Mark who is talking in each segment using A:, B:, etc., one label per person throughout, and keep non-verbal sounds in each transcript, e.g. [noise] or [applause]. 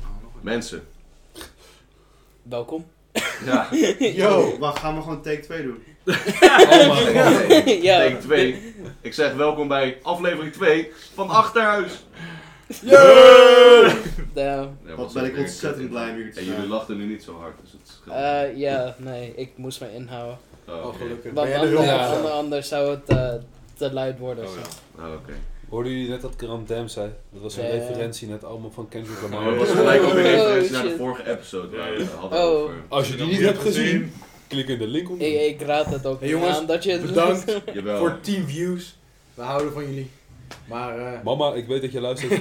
A: [laughs]
B: Mensen.
A: Welkom.
B: Ja.
C: Yo, wacht, gaan we gewoon take 2
B: [laughs]
C: doen?
A: [laughs]
D: Oh my god.
A: ja.
B: Take 2. Ik zeg welkom bij aflevering 2 van Achterhuis.
A: Nou,
B: Ja,
C: Wat
B: zo
C: ben ik
B: weer-
C: ontzettend blij om hier te
B: En jullie
C: zijn.
B: lachten nu niet zo hard, dus het scheelt.
A: eh, ja, nee, ik moest me inhouden.
B: oh,
D: Oh,
B: oké.
D: gelukkig. Ben
A: Want
D: jij er wel
A: ander-
D: van?
A: ander- anders zou het eh, te luid worden.
B: Oh, ja. Oh, oké.
D: Hoorden jullie net dat Grand Dam zei? Dat was een
A: Ja.
D: referentie net allemaal van Kendrick
B: Maar dat
D: Lamar.
B: was gelijk ook weer
A: Oh,
B: referentie naar de
A: shit.
B: vorige episode waar we het hadden
A: Oh.
B: over.
D: Als je die niet hebt gezien, klik in de link onder.
A: Ik, ik raad het ook
E: Hey,
A: niet
E: jongens,
A: aan dat je het
E: bedankt.
B: [laughs] Jawel.
E: Voor 10 views. We houden van jullie. Maar eh,
D: Mama, ik weet dat je luistert.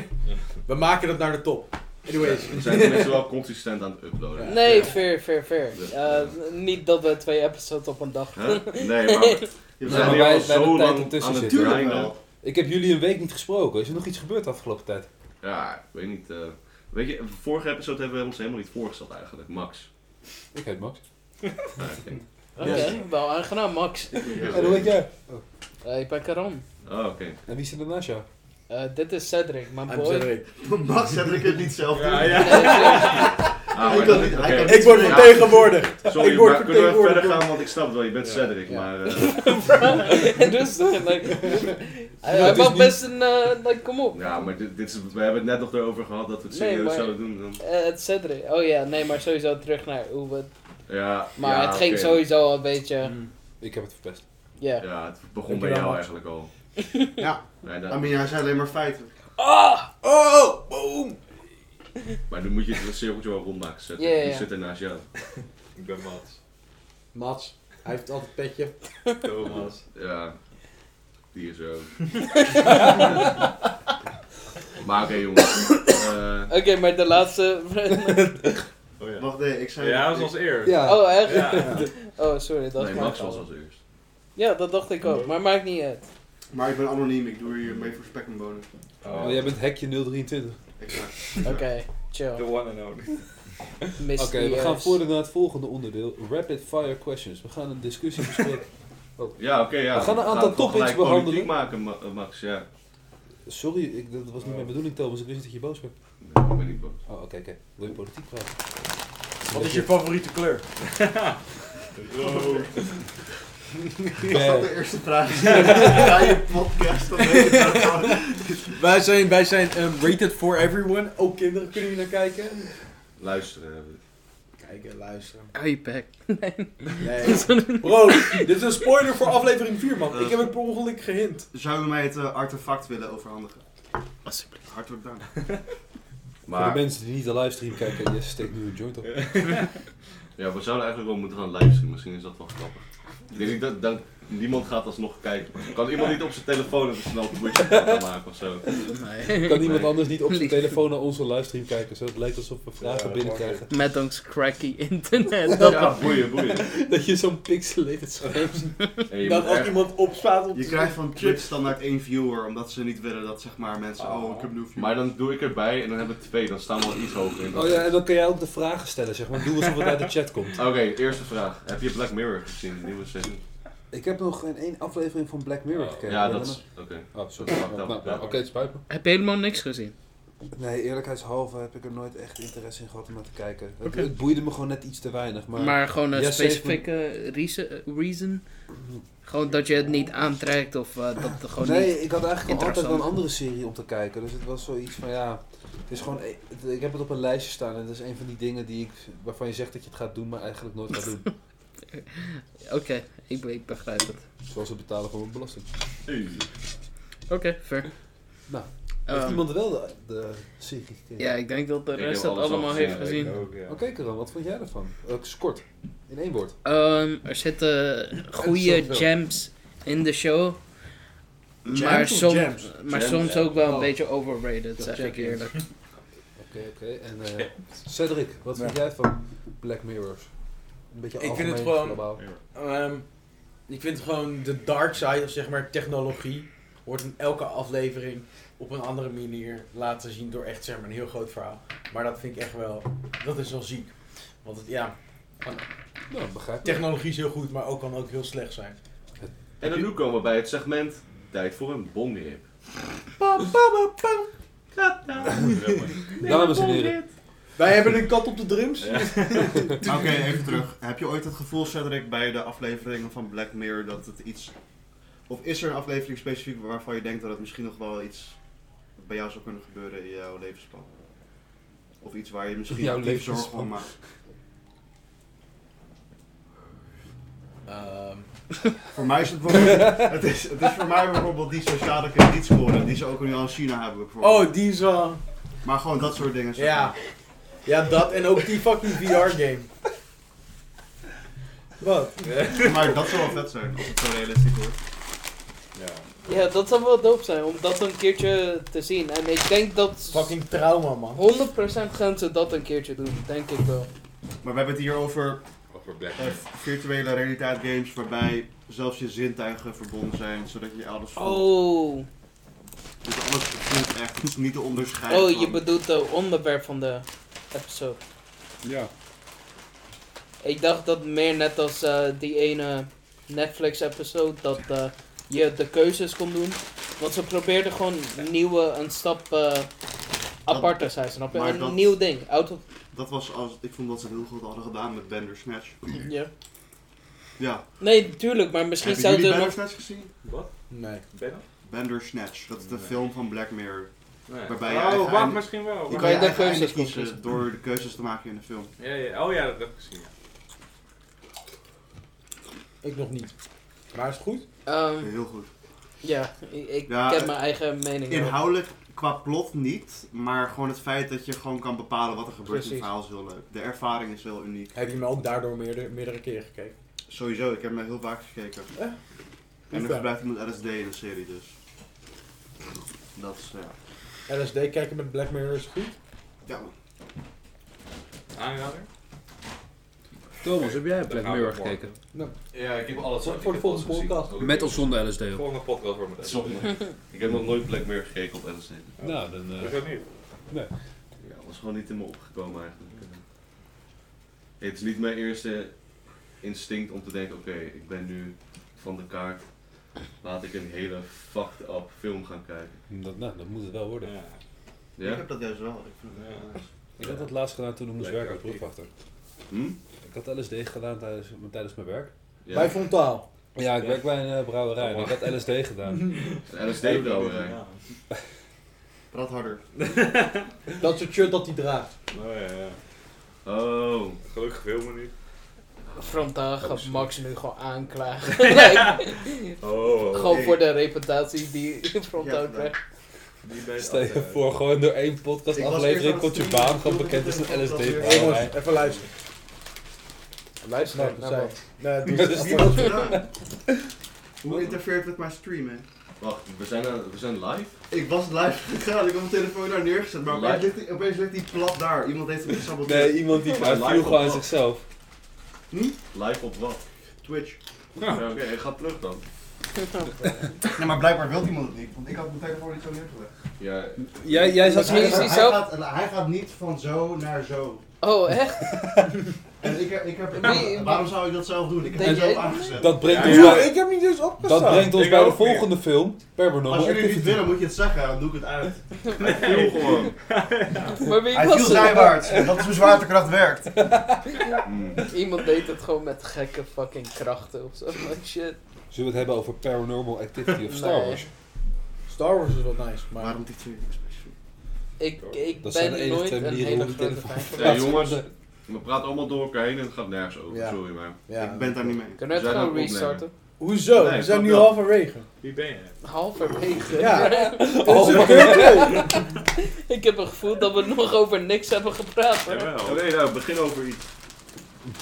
E: we maken het naar de top. Anyways.
B: We zijn tenminste wel consistent aan het uploaden.
A: Nee,
E: Ja.
A: fair, fair, fair.
B: Dus,
A: Eh, niet dat we twee episodes op een dag
B: Huh?
A: [laughs]
B: Nee, maar we
C: Je
D: Ja,
B: zijn
D: maar
B: hier al
D: wij- wij hebben
B: zo
D: tijd
B: lang
D: ertussen
B: aan het
D: zitten.
C: Tuurlijk
B: grinden.
C: wel.
D: Ik heb jullie een week niet gesproken. Is er nog iets gebeurd de afgelopen tijd?
B: Ja, ik weet niet. eh, weet je, vorige episode hebben we ons helemaal niet voorgesteld eigenlijk. Max.
D: Ik heet Max.
B: Ja, oké.
A: Oké, wel aangenaam, Max.
D: En hoe heet jij?
A: Eh, ik ben Karan.
B: Oh, oké.
D: En wie zit er naast jou?
A: Eh, dit is Cedric, mijn
E: I'm
A: boy.
E: Cedric.
C: [laughs] Max zet ik het niet zelf doen.
E: Ja,
A: [laughs] Nee, serieus.
B: Ah,
C: Hij
B: maar
C: kan
B: dat-
C: niet-
B: oké.
C: hij kan niet-
E: Ik word
B: Ja.
E: vertegenwoordigd.
B: Sorry,
E: ik word
B: maar kunnen we verder
E: vertegenwoordigd.
B: gaan? Want ik snap het wel, je bent Cedric,
D: Ja.
B: maar... eh,
A: [laughs] dus, eh, like, hij
D: het
A: hij
D: is
A: mag
D: niet-
A: best een, eh, like, kom op.
B: ja, maar dit, dit is, we hebben het net nog erover gehad dat we het
A: Nee,
B: serieus
A: maar-
B: zouden doen. Dan.
A: Eh, het Cedric. Oh ja, nee, maar sowieso terug naar hoe we
B: Ja,
A: Maar
B: ja,
A: het ging
B: oké.
A: sowieso al een beetje.
D: Ik heb het verpest.
A: Ja.
B: Ja, het begon
E: Dank
B: bij
E: je wel,
B: jou
E: Max.
B: eigenlijk al.
C: Ja,
B: Nee, dat-
C: I mean, hij zei alleen maar feiten.
E: Oh, boom.
B: maar nu moet je het cirkeltje wel rondmaken, Cedric.
A: Ja, ja,
B: Die
A: ja.
B: zit er naast jou.
F: Ik ben Mats.
E: Mats, hij heeft altijd petje.
F: Thomas.
B: Ja, die is er ook.
D: [laughs]
B: maar oké, jongens. Eh,
A: Oké, maar de laatste.
F: Oh ja.
C: Wacht, nee, ik zei...
F: Ja, dat
C: ik-
F: was als eer.
D: Ja.
A: oh, echt?
F: [laughs] Ja.
A: Oh, sorry, dat
B: nee,
A: is
B: Max
A: mijn
B: was
A: fout.
B: als eerst.
A: Ja, dat dacht ik ook, maar maakt niet uit.
C: Maar ik ben anoniem, ik doe hier mee voor spek en bonen.
D: Oh, jij bent hekje 023.
C: Exact.
A: Oké, chill.
F: The one and only.
A: Mysterieus.
D: Oké, we gaan voor naar het volgende onderdeel. Rapid fire questions. We gaan een discussie bespreken. [laughs]
B: Ja, oké, ja.
D: We gaan een aantal
B: het wel
D: topics
B: gelijk politiek
D: behandelen.
B: maken, Ma- eh, Max, ja.
D: Sorry, ik, dat was niet mijn bedoeling Thomas. Ik wist niet dat je boos werd.
B: Nee, ik ben niet boos.
D: Oh, oké, oké. Wil je politiek praten?
E: Wat is je favoriete kleur?
C: Oh. Is dat de eerste vraag? [laughs] Ga je podcast
E: [laughs]
C: dan weet ik dat wel.
E: Wij zijn, wij zijn ehm, rated for everyone. Ook kinderen kunnen hier naar kijken.
B: Luisteren. hebben we.
E: Kijken, luisteren.
A: Apex.
C: [laughs]
E: Nee. Bro, dit is een spoiler voor aflevering 4, man. Ik heb het per ongeluk gehint.
C: Zou je mij het eh, artefact willen overhandigen? Alsjeblieft. Hartelijk dank.
D: Voor de
B: Maar,
D: mensen die niet de livestream kijken, Jesse steekt nu een joint op.
B: ja, we zouden eigenlijk wel moeten gaan livestreamen. Misschien is dat wel grappig. Ik denk niet dat, dat niemand gaat alsnog kijken. maar Kan iemand niet op zijn telefoon even snel Twitch gaan maken of zo?
A: Nee.
D: Kan iemand anders niet op zijn telefoon naar onze livestream kijken? Zo, het lijkt alsof we vragen
F: Ja,
D: binnenkrijgen.
A: [laughs] Met ons cracky internet.
B: Ja, boeien, boeien.
D: [laughs] Dat je zo'n pixelated scherm ziet.
B: En je
E: [laughs] Dat
B: moet
E: als
B: echt-
E: iemand opstaat op
C: Je krijgt van Twitch standaard één viewer, omdat ze niet willen dat zeg maar mensen, oh, ik heb een nieuw viewer.
B: Maar dan doe ik erbij en dan hebben we twee. Dan staan we al iets hoger in.
D: Oh ja, en dan kan jij ook de vragen stellen, zeg maar. Doe alsof het uit de chat komt.
B: Oké, eerste vraag. Heb je Black Mirror gezien, de nieuwe seizoen?
D: [laughs] Ik heb nog geen één aflevering van Black Mirror gekeken.
B: Oh, ja, dat is... Oké.
D: Oh, sorry.
B: sorry.
D: Nou, nou, nou, Oké, het spijt me.
A: Heb je helemaal niks gezien?
D: Nee, eerlijkheidshalve heb ik er nooit echt interesse in gehad om naar te kijken. Het,
A: Oké.
D: het boeide me gewoon net iets te weinig. Maar,
A: gewoon
D: een Ja, zeker. specifieke
A: reason, Gewoon dat je het niet aantrekt of eh, dat gewoon
D: nee, ik had eigenlijk al altijd wel een
A: interessant.
D: andere serie om te kijken. Dus het was zoiets van ja. Het is gewoon, e- het- ik heb het op een lijstje staan en dat is een van die dingen die ik, waarvan je zegt dat je het gaat doen, maar eigenlijk nooit gaat
G: [laughs]
D: doen.
A: Oké, ik, ik begrijp het.
D: Zoals het betalen van mijn belasting.
A: Oké, fair.
D: Nou,
A: Ehm,
D: Heeft iemand wel de, de serie gekeken?
A: ja, ik denk dat de
B: Ik
A: rest
B: heb
A: het
B: alles al
A: allemaal
B: gezien,
A: heeft
B: ja,
A: gezien.
F: Ik ook, ja.
D: Oké, Karan, wat vond jij ervan? Eh, kort, in één woord.
A: Ehm, er zitten goede
D: zoveel.
A: gems in de show.
E: Gems
A: maar
E: of
A: soms,
E: gems?
A: maar
B: Gems,
A: soms
B: ja.
A: ook wel een
D: Oh.
A: beetje overrated,
D: Dat
A: zeg
D: check
A: ik
D: ik.
A: eerlijk.
D: Oké, oké. En eh, Cedric, wat vind jij van Black Mirror? Een beetje
E: Ik vind het
D: algemeen,
E: gewoon-
D: globaal.
E: Ehm, ik vind gewoon de dark side, of zeg maar technologie, wordt in elke aflevering op een andere manier laten zien door echt zeg maar een heel groot verhaal. Maar dat vind ik echt wel, dat is wel ziek. Want het, ja,
D: Nou, begrijp ik.
E: technologie is heel goed, maar ook kan ook heel slecht zijn.
B: En dan nu komen we bij het segment... Tijd voor een bongrip.
E: Bam, bam, bam, bam.
C: [laughs]
B: Ja,
D: Dames en heren,
E: Wij hebben een kat op de drums.
H: Ja.
B: Maar Oké, even terug. Heb je ooit het gevoel, Cedric, bij de afleveringen van Black Mirror dat het iets. Of is er een aflevering specifiek waarvan je denkt dat het misschien nog wel iets bij jou zou kunnen gebeuren in jouw levensplan? Of iets waar je misschien
I: Jouw
B: actief zorgen
I: levensplan.
B: om maakt?
E: Ehm,
B: Voor mij is het bijvoorbeeld. [laughs] het, is, het is voor mij bijvoorbeeld die sociale kredietscore die ze ook nu al in China hebben. Bijvoorbeeld.
E: oh, die is wel...
B: Maar gewoon dat soort dingen. zeg
E: Ja.
B: maar.
E: Ja, dat en ook die fucking VR-game. Wat?
B: Maar dat zou wel vet zijn als het zo realistisch wordt.
G: Ja.
A: Ja, dat zou wel dope zijn om dat een keertje te zien. En ik denk dat
E: Fucking trauma, man.
A: 100% gaan ze dat een keertje doen, denk ik wel.
B: Maar we hebben het hier over
G: Over Black
B: Eh, virtuele realiteit games waarbij zelfs je zintuigen verbonden zijn, zodat je alles voelt.
A: Oh,
B: Dus alles voelt echt, het is niet te onderscheiden.
A: oh
B: van-
A: je bedoelt het onderwerp van de episode.
I: Ja.
A: Ik dacht dat meer net als eh, die ene Netflix-episode dat eh, je de keuzes kon doen. Want ze probeerden gewoon nieuwe, een stap eh aparter zijn, snap je?
B: maar
A: Een
B: dat-
A: nieuw ding. Out of,
B: Dat was als, ik vond dat ze het heel goed hadden gedaan met Bender Snatch.
A: ja.
B: Ja.
A: Nee, tuurlijk, maar misschien
B: Hebben jullie Bender
A: zouden we nog...
B: Snatch gezien?
G: Wat?
E: Nee.
G: Ben
B: Bender Snatch, dat is de
G: Nee.
B: film van Black Mirror.
G: Nee.
B: Waarbij je
G: oh,
B: eigen-
G: wacht, misschien wel.
B: Je
G: wacht.
B: kan je
A: de
B: eigen einde
A: keuzes kon
B: kiezen
A: kiezen.
B: door de keuzes te maken in de film.
G: Ja, ja. Oh ja, dat heb ik gezien. ja.
E: Ik nog niet. Maar is het goed?
A: Ehm,
B: Heel goed.
A: ja, ik, ik
B: Ja,
A: heb
B: eh,
A: mijn eigen mening. wel.
B: Inhoudelijk qua plot niet, maar gewoon het feit dat je gewoon kan bepalen wat er gebeurt in
E: Precies.
B: het verhaal is heel leuk. De ervaring is heel uniek.
E: Heb je me ook daardoor meerdere, meerdere keren gekeken?
B: Sowieso, ik heb me heel vaak gekeken.
E: Eh?
B: En
E: Niet
B: er
E: waar.
B: gebruikt iemand LSD in de serie dus. Dat is, ja.
E: LSD kijken met Black Mirror is goed.
B: Ja, man.
G: Aanrader?
D: Thomas, heb jij Black
G: Dan gaan we
D: Mirror
G: morgen.
D: gekeken?
G: Ja, ik heb alles
E: Voor-
G: ik
E: voor
G: heb
E: de
G: alles
E: volgende
G: gezien.
E: podcast.
G: Ook
D: Met
G: de
D: of zonder LSD? op?
G: Volgende podcast wordt met
H: Sorry. Ik heb nog nooit Black Mirror gekeken op NSC.
D: Nou, dan... eh,
G: Dat gaat niet.
H: Ja, was gewoon niet in me opgekomen eigenlijk. Het is niet mijn eerste instinct om te denken, oké, ik ben nu van de kaart. Laat ik een hele fucked up film gaan kijken.
D: dat, nou, dat moet het wel worden.
G: Ja.
B: Ik
H: Ja?
B: heb dat juist wel. Ik vind het
G: Ja.
B: wel nice.
D: Ik had dat laatst gedaan toen ik moest
G: Lekker.
D: werken als proefwachter.
H: Hm?
D: Ik had LSD gedaan tijdens, tijdens mijn werk.
E: Bij
H: Ja.
E: Frontaal.
D: Ja, ik
G: Ja.
D: werk bij een eh, brouwerij en ik had LSD [laughs] gedaan.
H: De LSD-brouwerij.
B: Praat harder.
E: Dat soort shirt dat hij draagt.
G: Oh ja, ja.
H: Oh.
G: Gelukkig veel me niet.
A: Frontaal gaat Max nu gewoon aanklagen. Like,
G: Oh,
A: gewoon voor de reputatie die Frontaal
B: Ja,
A: krijgt.
G: die ben
D: Stel je
G: eh,
D: voor, gewoon door één podcastaflevering
B: eerst aan
D: komt je
B: het
D: baan
B: doen,
D: gewoon
B: toen
D: bekend als
B: ik
D: een
B: de podcast weer-
E: Jongens,
D: LSD-brouwerij.
E: even luisteren.
I: Luister
D: Nou,
E: Nee, dat zei ik. Nee, dus-
B: Dat
E: dat
B: is
E: is
B: niet wat gedaan. Hoe interfereert met mijn stream, hè?
H: Wacht, we zijn, aan- we zijn live?
B: Ik was live gegaan, ik heb mijn telefoon daar neergezet, maar opeens ligt, die, opeens ligt die plat daar. Iemand heeft hem gesaboteerd.
D: Nee, iemand die
H: Maar
D: hij
H: live
D: viel
H: op
D: gewoon aan
H: wat?
D: zichzelf.
H: Live op wat?
B: Twitch.
H: Ja, Oké, ik ga terug dan.
B: Nee, maar blijkbaar wil iemand het niet, want ik had mijn telefoon niet zo neergelegd.
H: Ja,
D: Jij, jij zat
A: Misschien
D: hier...
A: is hij
B: hij,
A: zo-
B: gaat, hij gaat niet van zo naar zo.
A: Oh, echt?
B: En ik, heb- ik heb,
A: Wie-
B: waarom zou ik dat zelf doen? Ik heb
A: Denk
B: hem
A: jij-
B: zo aangezet.
D: Dat brengt
G: Ja,
D: ons
G: ja.
D: bij,
E: Ik heb niet eens opgestaan.
D: dat brengt ons
G: Ik
D: bij de
G: ook weer.
D: volgende film,
B: Als
D: Paranormal
B: jullie niet
D: Activity.
B: willen, moet je het zeggen, dan doe ik het
H: [laughs]
B: uit.
H: heel gewoon.
A: Maar wie was het?
B: zijwaarts, dat is hoe zwaartekracht werkt.
H: [laughs] Mm.
A: Iemand deed het gewoon met gekke fucking krachten of zo. Like, shit.
D: Zullen we het hebben over Paranormal Activity of Star
A: Nee.
D: Wars?
E: Star Wars is wat nice, maar...
B: Waarom die twee niks speciaal?
A: Ik, ik
D: Dat zijn de
A: ben
D: enige
A: nooit
D: twee
A: een
D: manieren
A: hele
D: hoe die
A: grote
D: telefoon
A: fan van
H: Nee jongens, we praten allemaal door elkaar heen en het gaat nergens over.
E: Ja.
H: Sorry maar.
E: Ja.
B: ik ben daar niet mee.
A: Kunnen we
H: We
A: het
H: zijn
A: gewoon
H: aan het
A: restarten?
E: Hoezo?
H: Nee,
E: We
H: snap
E: zijn nu
H: wel.
E: halverwege.
G: Wie ben je?
A: Halverwege.
E: Ja.
D: Oh, maar-
A: [laughs] Ik heb een gevoel dat we nog over niks hebben gepraat. hoor.
H: Oh,
G: Jawel.
H: nee, nou, begin over iets.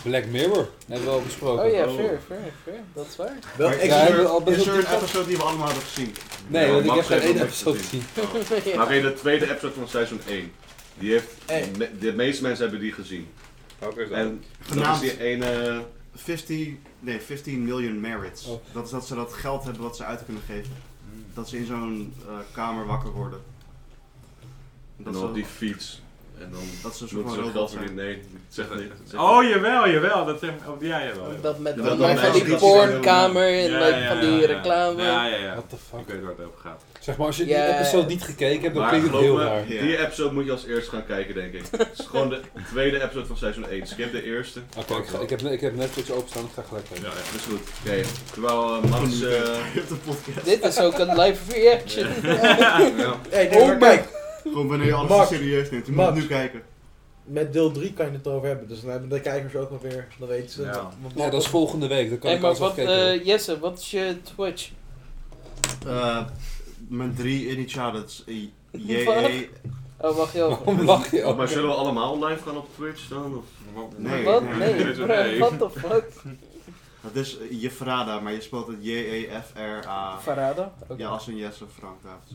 D: Black Mirror, hebben we al besproken.
A: Oh ja, fair, fair, fair. Dat is waar. [laughs]
E: Wel,
B: Maar
E: ik- Oh,
B: is,
D: Ja, hebben
B: er,
D: we al best
B: is
D: wel
B: er een
D: diep op-
B: episode die we allemaal hadden gezien?
D: Nee,
H: Ja,
D: want ik
H: Max
D: heb geen
H: heeft
D: één
H: nog
D: episode
H: niks gezien.
D: gezien.
H: Maar oké, de tweede episode van seizoen 1. Die heeft,
E: Hey.
H: me- de meeste mensen hebben die gezien.
G: Welke is dat?
H: En dat is
B: Genaamd
H: die ene...
B: 50, nee, 15 million merits.
D: Oh. Hmm.
B: Dat is dat ze dat geld hebben wat ze uit kunnen geven. Dat ze in zo'n eh, kamer wakker worden.
H: En
B: Dat
H: op
B: ze,
H: die fiets.
B: En dan
C: Dat is een soort
B: moeten
C: van
B: ze
C: robot
B: geld
C: zijn.
B: verdienen. Nee, ik zeg niet.
F: Oh, jawel, jawel. Dat zeg oh, ja, jawel. jawel.
A: Dat met
B: Ja,
A: van
B: dat
A: die-
B: dan
A: van die
B: mensen die
A: pornkamer en
F: Ja,
A: met
F: ja,
A: van
F: ja,
A: die
F: ja.
A: reclame.
F: Ja, ja, ja.
D: What the fuck?
F: Ik weet waar het over gaat.
D: Zeg maar, als je
A: Ja.
D: die episode niet gekeken hebt, dan
B: Maar
D: klinkt het heel
B: geloof
D: raar.
B: me,
C: Ja.
B: die episode moet je als eerst gaan kijken, denk ik. Het is gewoon de tweede episode van seizoen 1. Skip de eerste.
D: Oké, ik, ga- ik heb, ik heb Netflix openstaan, ik ga gelijk
F: Ja,
D: kijken.
F: ja.
B: Dat is goed. Oké, terwijl eh, Max... eh,
C: Je hebt een podcast.
A: Dit is ook een live
C: [laughs]
A: reaction.
B: ja.
E: Hey,
A: Oh
E: nee, maar kijk,
C: Gewoon wanneer je alles
E: Max.
C: serieus neemt. Je moet het
E: Max.
C: nu kijken.
E: met deel 3 kan je het over hebben. Dus dan hebben de kijkers ook nog weer, dan weten ze.
F: Ja.
E: wat- wat-
D: Ja, Nou, dat is volgende week, dan kan
A: Hey,
D: ik
A: maar
D: alles
A: wat,
D: afkijken.
A: eh, Jesse, wat is je Twitch?
C: Eh, mijn drie eh, initialen, dat is I- JE.
A: Oh, wacht joh.
D: Waarom lach je ook?
B: Maar zullen we allemaal live gaan op Twitch dan? Of?
C: Nee.
A: Wat?
F: Nee.
A: Nee, bro, what the fuck?
C: Dat is Jefrada, maar je spelt het E
B: Ah.
C: J-E-F-R-A.
A: Verraden? Oké.
C: Ja, als een Jesse Frank Davids.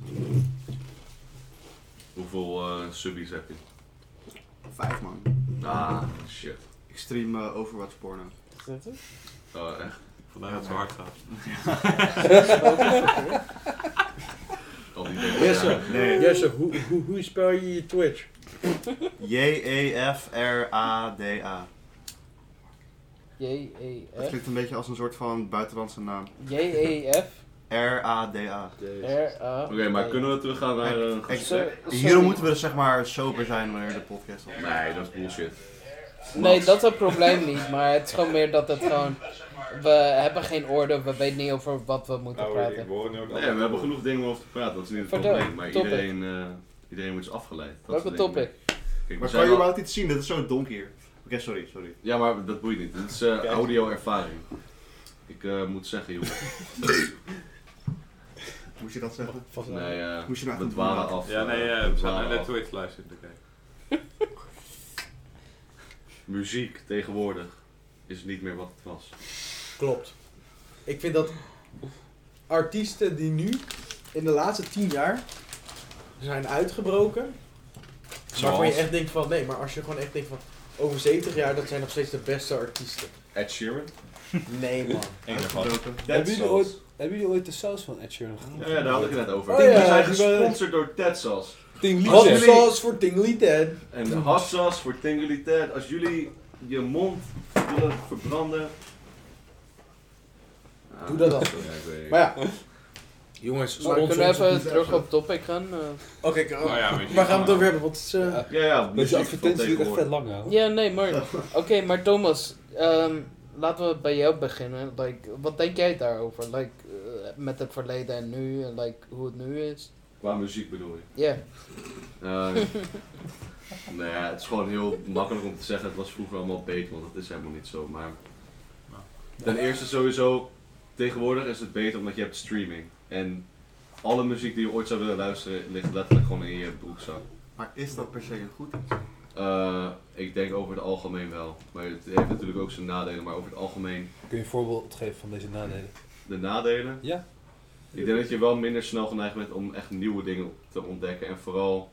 B: Hoeveel eh, subbies heb je?
C: Vijf man.
B: Ah, shit.
C: Ik stream eh, Overwatch porno.
B: Oh, echt?
F: Vandaar dat het zo hard
C: [laughs]
F: gaat.
B: Al die dingen.
E: Yes,
B: Ja.
E: sir. Jesse, hoe, hoe, hoe spel je je Twitch?
C: E J-E-F-R-A-D-A. Dat
A: J-E-F.
C: klinkt een beetje als een soort van buitenlandse naam.
A: J-E-F.
C: R-A-D-A.
A: R-A.
B: Oké, maar kunnen we teruggaan naar eh, een
C: Ik-
A: Sorry.
C: Hierom moeten we dus zeg maar sober zijn wanneer de podcast opneemt.
B: Nee, dat is bullshit.
A: Nee, dat is het probleem niet, maar het is gewoon meer dat het gewoon... We hebben geen orde, we weten niet over wat we moeten
F: Nou, ik
A: praten.
F: hoor nu ook
B: Nee, we hebben genoeg dingen om over te praten. Dat Oh, is niet het
A: Vertel,
B: probleem. Maar
A: topic.
B: iedereen, eh, iedereen wordt afgeleid. Dat
A: Welke
B: soort dingen.
A: topic?
B: Kijk, we
C: Maar
B: zijn
C: kan je
B: al-
C: überhaupt iets zien? Dat is zo donker hier. Oké, sorry, sorry.
B: Ja, maar dat boeit niet. Dit is eh, audio-ervaring. Ik eh, moet
C: [laughs]
B: zeggen, joh.
C: Moest je dat zeggen?
E: Vast
B: Nee, eh,
C: Moest je nou
B: we
C: echt
B: dwalen
C: doen?
B: af.
F: Ja, nee, eh,
B: eh,
F: we zijn
B: dwalen
F: naar de
B: af.
F: Twitch live zitten kijken.
B: Muziek tegenwoordig is niet meer wat het was.
E: Klopt. Ik vind dat artiesten die nu in de laatste tien jaar zijn uitgebroken, waarvan je echt denkt van nee, maar als je gewoon echt denkt van over 70 jaar, dat zijn nog steeds de beste artiesten.
B: Ed Sheeran?
E: Nee man.
F: Eén daarvan.
D: Hebben jullie,
B: Sauce.
D: ooit, hebben jullie ooit de saus van Ed Sheeran gegeten?
B: Ja, ja, daar had ik het net over.
E: Oh ja,
B: we zijn
E: die waren-
B: gesponsord door Ted Sauce.
D: Ding
E: Hot
B: Liedje.
E: sauce voor Tingly Ted.
B: En de hot sauce voor Tingly Ted. Als jullie je mond willen verbranden... Ah,
E: Doe dat dan.
B: Ja, ik weet
E: Maar ja. Jongens,
A: Maar we kunnen even terug op topic gaan. eh.
E: Oké,
F: Nou ja, weet je.
E: waar gaan we het over hebben? Want het is, eh,
D: Ja.
B: Ja, ja,
D: Maar
B: muziek
D: die
B: van
D: advertentie duurt echt vet
B: tegenwoordig.
D: lang, hè?
A: Ja, nee, maar...
C: [laughs]
A: Oké, maar Thomas, ehm, laten we bij jou beginnen. Like, wat denk jij daarover? Like, eh, met het verleden en nu, en like, hoe het nu is?
B: Qua muziek bedoel je?
A: Ja.
B: Eh, [laughs] nou ja, het is gewoon heel makkelijk om te zeggen, het was vroeger allemaal beter, want dat is helemaal niet zo. Maar ten eerste sowieso, tegenwoordig is het beter omdat je hebt streaming. En alle muziek die je ooit zou willen luisteren, ligt letterlijk gewoon in je broekzak.
C: Maar is dat per se een goed iets?
B: Eh, ik denk over het algemeen wel. Maar het heeft natuurlijk ook zijn nadelen, maar over het algemeen
D: Kun je een voorbeeld geven van deze nadelen?
B: de nadelen.
D: Ja.
B: Ik denk dat je wel minder snel geneigd bent om echt nieuwe dingen te ontdekken. En vooral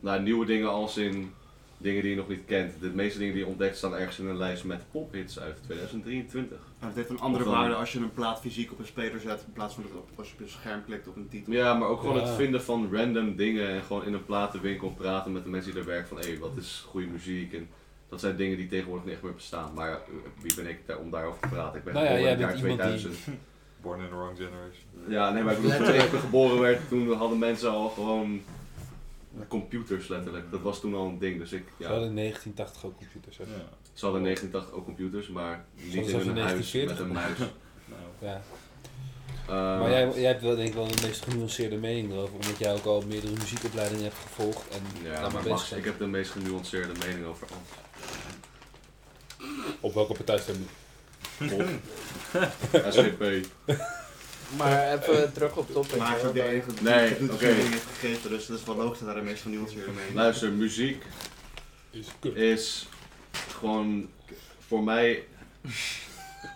B: nou, nieuwe dingen als in dingen die je nog niet kent. De meeste dingen die je ontdekt staan ergens in een lijst met pophits uit 2023.
C: En het Ah, heeft een andere
B: Of dan-
C: waarde als je een plaat fysiek op een speler zet in plaats van dat het op- als je op je scherm klikt op een titel.
B: Ja, maar ook gewoon
D: Ja.
B: het vinden van random dingen en gewoon in een platenwinkel praten met de mensen die er werken van hé, wat is goede muziek en dat zijn dingen die tegenwoordig niet echt meer bestaan. Maar eh, wie ben ik daar om daarover te praten? Ik ben
D: Nou ja,
B: geboren in
D: jij
B: het jaar
D: bent iemand die-
B: 2000.
F: Born in the wrong generation.
B: Ja, nee, maar ik bedoel, toen ik geboren werd, toen hadden mensen al gewoon computers letterlijk. Dat was toen al een ding, dus ik,
D: Ze
B: ja,
D: hadden in 1980 ook computers, hè?
F: Ja.
B: ze hadden in 1980 ook computers, maar niet
D: Zoals
B: in
D: als
B: hun
D: in
B: huis met
D: 1940.
B: een muis.
F: Nou.
D: Ja.
B: Eh,
D: Maar jij, jij hebt wel denk ik wel de meest genuanceerde mening erover, omdat jij ook al meerdere muziekopleidingen hebt gevolgd en
B: Ja,
D: daarmee
B: maar
D: bezig
B: Max,
D: bent.
B: ik heb de meest genuanceerde mening over alles.
D: Op welke partij stem je?
B: [laughs] SGP.
A: Maar
C: Eh,
A: even terug op topic.
C: Maar hij is
A: hoor.
C: ook de enige die
B: Nee,
C: het doet als
B: oké.
C: je dingen heeft gegeten, dus dat is wel logisch dat daar de meest genuanceerde mee.
B: Luister, muziek
D: Is kut.
B: is gewoon voor mij. [laughs]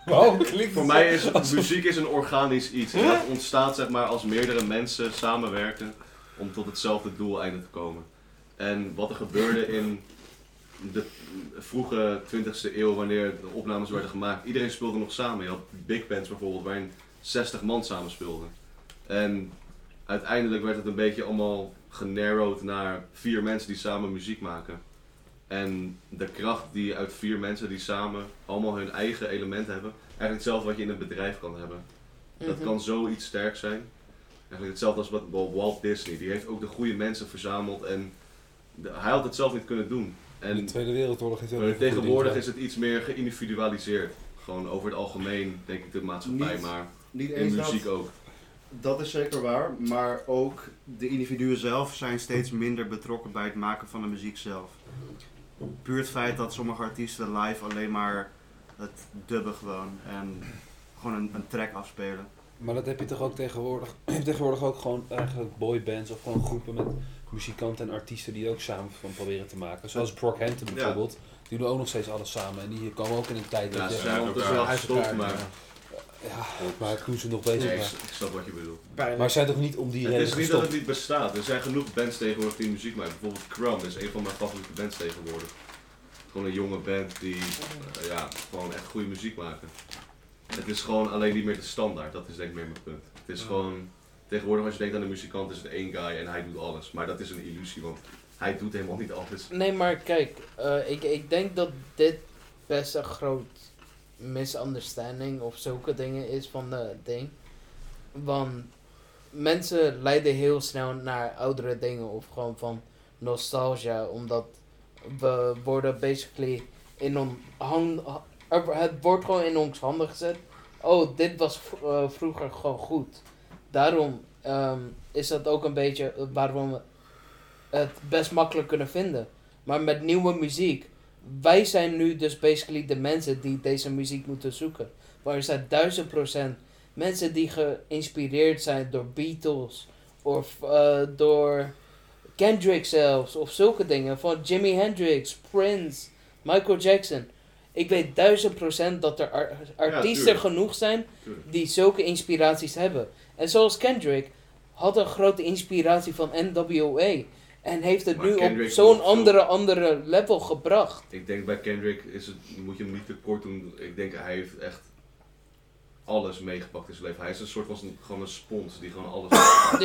D: Wow, Oh, klinkt
B: Voor mij is muziek is een organisch iets. En dat ontstaat zeg maar als meerdere mensen samenwerken om tot hetzelfde doeleinde te komen. En wat er gebeurde in de vroege 20e eeuw, wanneer de opnames werden gemaakt, iedereen speelde nog samen. Je had big bands bijvoorbeeld, waarin 60 man samen speelden. En uiteindelijk werd het een beetje allemaal genarrowd naar vier mensen die samen muziek maken. En de kracht die uit vier mensen die samen allemaal hun eigen element hebben, eigenlijk hetzelfde wat je in een bedrijf kan hebben. Dat
A: Mhm.
B: kan zoiets sterk zijn. Eigenlijk hetzelfde als wat wel Walt Disney. Die heeft ook de goede mensen verzameld en de- hij had het zelf niet kunnen doen.
D: de
B: En
D: Tweede Wereldoorlog heeft wel
B: maar
D: een goed ding
B: tegenwoordig
D: gedaan.
B: is het iets meer geïndividualiseerd. Gewoon over het algemeen, denk ik, de maatschappij,
C: Niet
B: maar
C: Niet
B: in
C: eens dat,
B: muziek ook.
C: dat is zeker waar, maar ook de individuen zelf zijn steeds minder betrokken bij het maken van de muziek zelf. Puur het feit dat sommige artiesten live alleen maar het dubben gewoon en gewoon een, een track afspelen.
D: Maar dat heb je toch ook tegenwoordig. [clears throat] Je hebt tegenwoordig ook gewoon eigenlijk boybands of gewoon groepen met muzikanten en artiesten die ook samen van proberen te maken. Zoals Brockhampton
B: Ja.
D: bijvoorbeeld. Die doen ook nog steeds alles samen. En die komen ook in een tijd
B: Ja,
D: dat
B: ze
D: je-
F: ja,
B: zijn ondertussen
F: elkaar
B: wel
E: Uit elkaar,
B: gestopt, maar
E: ja.
D: Maar toen ze nog bezig
B: Nee, ik,
D: waren.
B: ik snap wat je bedoelt.
E: Pijnlijk.
D: Maar ze zijn toch niet om die
B: Het
D: reden
B: is niet dat
D: gestopt?
B: het niet bestaat. Er zijn genoeg bands tegenwoordig die muziek maken. Bijvoorbeeld Crumb is een van mijn favoriete bands tegenwoordig. Gewoon een jonge band die eh, ja, gewoon echt goede muziek maken. Het is gewoon alleen niet meer de standaard. Dat is denk ik meer mijn punt. Het is gewoon... Tegenwoordig als je denkt aan een muzikant is het één guy en hij doet alles. Maar dat is een illusie, want hij doet helemaal niet alles.
A: Nee, maar kijk, eh, ik, ik denk dat dit best een groot misunderstanding of zulke dingen is van de ding. Want mensen leiden heel snel naar oudere dingen of gewoon van nostalgia, omdat we worden basically in ons hand, er- het wordt gewoon in ons handen gezet. Oh, dit was v- eh, vroeger gewoon goed. Daarom ehm, is dat ook een beetje waarom we het best makkelijk kunnen vinden. Maar met nieuwe muziek. Wij zijn nu dus basically de mensen die deze muziek moeten zoeken. Maar er zijn duizend procent mensen die geïnspireerd zijn door Beatles. Of eh, door Kendrick zelfs. Of zulke dingen. Van Jimi Hendrix, Prince, Michael Jackson. Ik weet duizend procent dat er ar- artiesten
B: tuurlijk.
A: genoeg zijn
B: Tuurlijk.
A: die zulke inspiraties hebben. En zoals Kendrick had een grote inspiratie van NWA. En heeft het
B: Maar
A: nu
B: Kendrick
A: op zo'n
B: wil
A: andere, andere level
B: [coughs]
A: gebracht.
B: Ik denk bij Kendrick is het, moet je hem niet te kort doen. Ik denk hij heeft echt alles meegepakt in zijn leven. Hij is een soort van een- gewoon een spons die gewoon alles.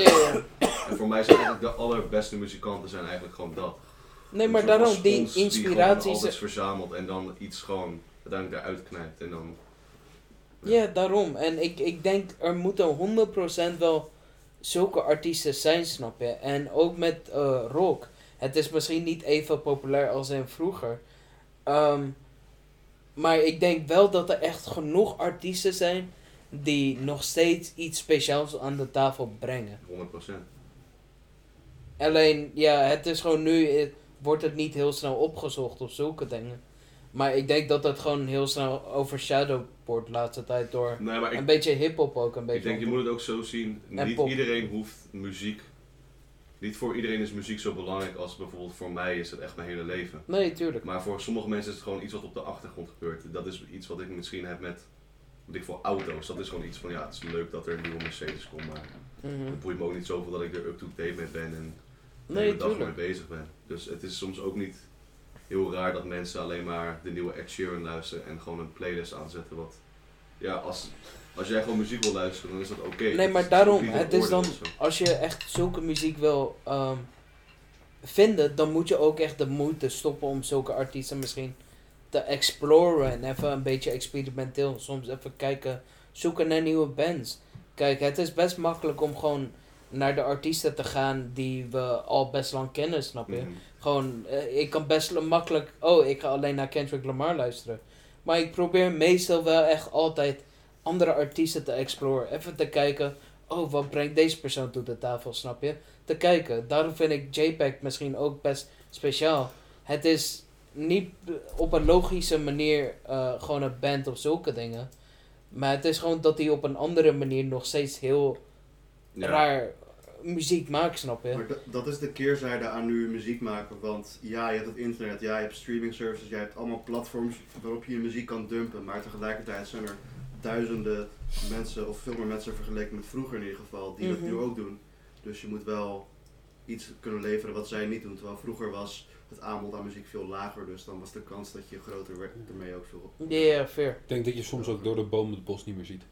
A: Ja.
B: en voor mij zijn eigenlijk de allerbeste muzikanten zijn eigenlijk gewoon dat.
A: Nee,
B: Een
A: maar
B: soort van
A: daarom die
B: spons Die
A: inspiraties.
B: gewoon alles verzamelt en dan iets gewoon uiteindelijk eruit knijpt en dan.
A: Ja, daarom. En ik, ik denk er moeten 100% wel zulke artiesten zijn, snap je? En ook met eh, rock. Het is misschien niet even populair als in vroeger. Ehm, maar ik denk wel dat er echt genoeg artiesten zijn die nog steeds iets speciaals aan de tafel brengen.
B: 100%.
A: Alleen, ja, het is gewoon nu, eh, wordt het niet heel snel opgezocht of zulke dingen. Maar ik denk dat dat gewoon heel snel overshadowed wordt de laatste tijd door
B: Nee, maar ik,
A: een beetje hip-hop ook een beetje.
B: ik denk je moet het ook zo zien.
A: En
B: Niet
A: pop.
B: iedereen hoeft muziek. Niet voor iedereen is muziek zo belangrijk als bijvoorbeeld voor mij is het echt mijn hele leven.
A: Nee, tuurlijk.
B: Maar voor sommige mensen is het gewoon iets wat op de achtergrond gebeurt. Dat is iets wat ik misschien heb met, wat ik voor auto's. Dat is gewoon iets van, ja, het is leuk dat er een nieuwe Mercedes komt, maar
A: Mhm.
B: het boeit me ook niet zoveel dat ik er up-to-date mee ben en de
A: Nee,
B: hele dag mee
A: tuurlijk.
B: bezig ben. Dus het is soms ook niet heel raar dat mensen alleen maar de nieuwe Ed Sheeran luisteren en gewoon een playlist aanzetten. Wat, ja, als, als jij gewoon muziek wil luisteren, dan is dat oké. Dat
A: Nee,
B: is-
A: maar
B: dat is ook
A: daarom,
B: niet een
A: het is
B: oordeel
A: dan,
B: of zo.
A: als je echt zulke muziek wil ehm, vinden, dan moet je ook echt de moeite stoppen om zulke artiesten misschien te exploren en even een beetje experimenteel, soms even kijken, zoeken naar nieuwe bands. Kijk, het is best makkelijk om gewoon naar de artiesten te gaan die we al best lang kennen, snap je?
B: Mhm.
A: Gewoon, eh, ik kan best makkelijk. Oh, ik ga alleen naar Kendrick Lamar luisteren. Maar ik probeer meestal wel echt altijd andere artiesten te exploren. Even te kijken. Oh, wat brengt deze persoon tot de tafel, snap je? Te kijken. Daarom vind ik JPEG misschien ook best speciaal. Het is niet op een logische manier eh, gewoon een band of zulke dingen. Maar het is gewoon dat hij op een andere manier nog steeds heel
B: Ja.
A: raar muziek maakt, snap je?
C: Maar dat- dat is de keerzijde aan nu muziek maken. Want ja, je hebt het internet, ja, je hebt streaming services, je hebt allemaal platforms waarop je je muziek kan dumpen. Maar tegelijkertijd zijn er duizenden mensen, of veel meer mensen vergeleken met vroeger in ieder geval, die
A: Mhm.
C: dat nu ook doen. Dus je moet wel iets kunnen leveren wat zij niet doen. Terwijl vroeger was het aanbod aan muziek veel lager, dus dan was de kans dat je groter werd ermee ook veel.
A: Ja, yeah, fair.
D: Ik denk dat je soms ook door de boom het bos niet meer ziet.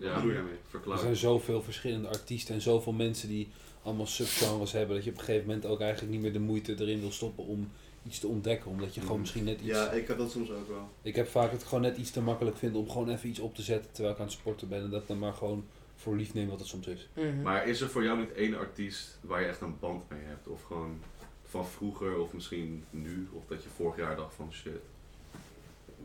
J: Ja,
B: Wat bedoel je daarmee?
J: Verklaar.
D: Er zijn zoveel verschillende artiesten en zoveel mensen die allemaal subgenres hebben. Dat je op een gegeven moment ook eigenlijk niet meer de moeite erin wil stoppen om iets te ontdekken. Omdat je gewoon
K: Mm.
D: misschien net iets.
B: Ja, ik heb dat soms ook wel.
D: Ik heb vaak het gewoon net iets te makkelijk vinden om gewoon even iets op te zetten terwijl ik aan het sporten ben. En dat dan maar gewoon voor lief neem wat het soms is.
A: Mhm.
J: Maar is er voor jou niet één artiest waar je echt een band mee hebt? Of gewoon van vroeger of misschien nu? Of dat je vorig jaar dacht van shit.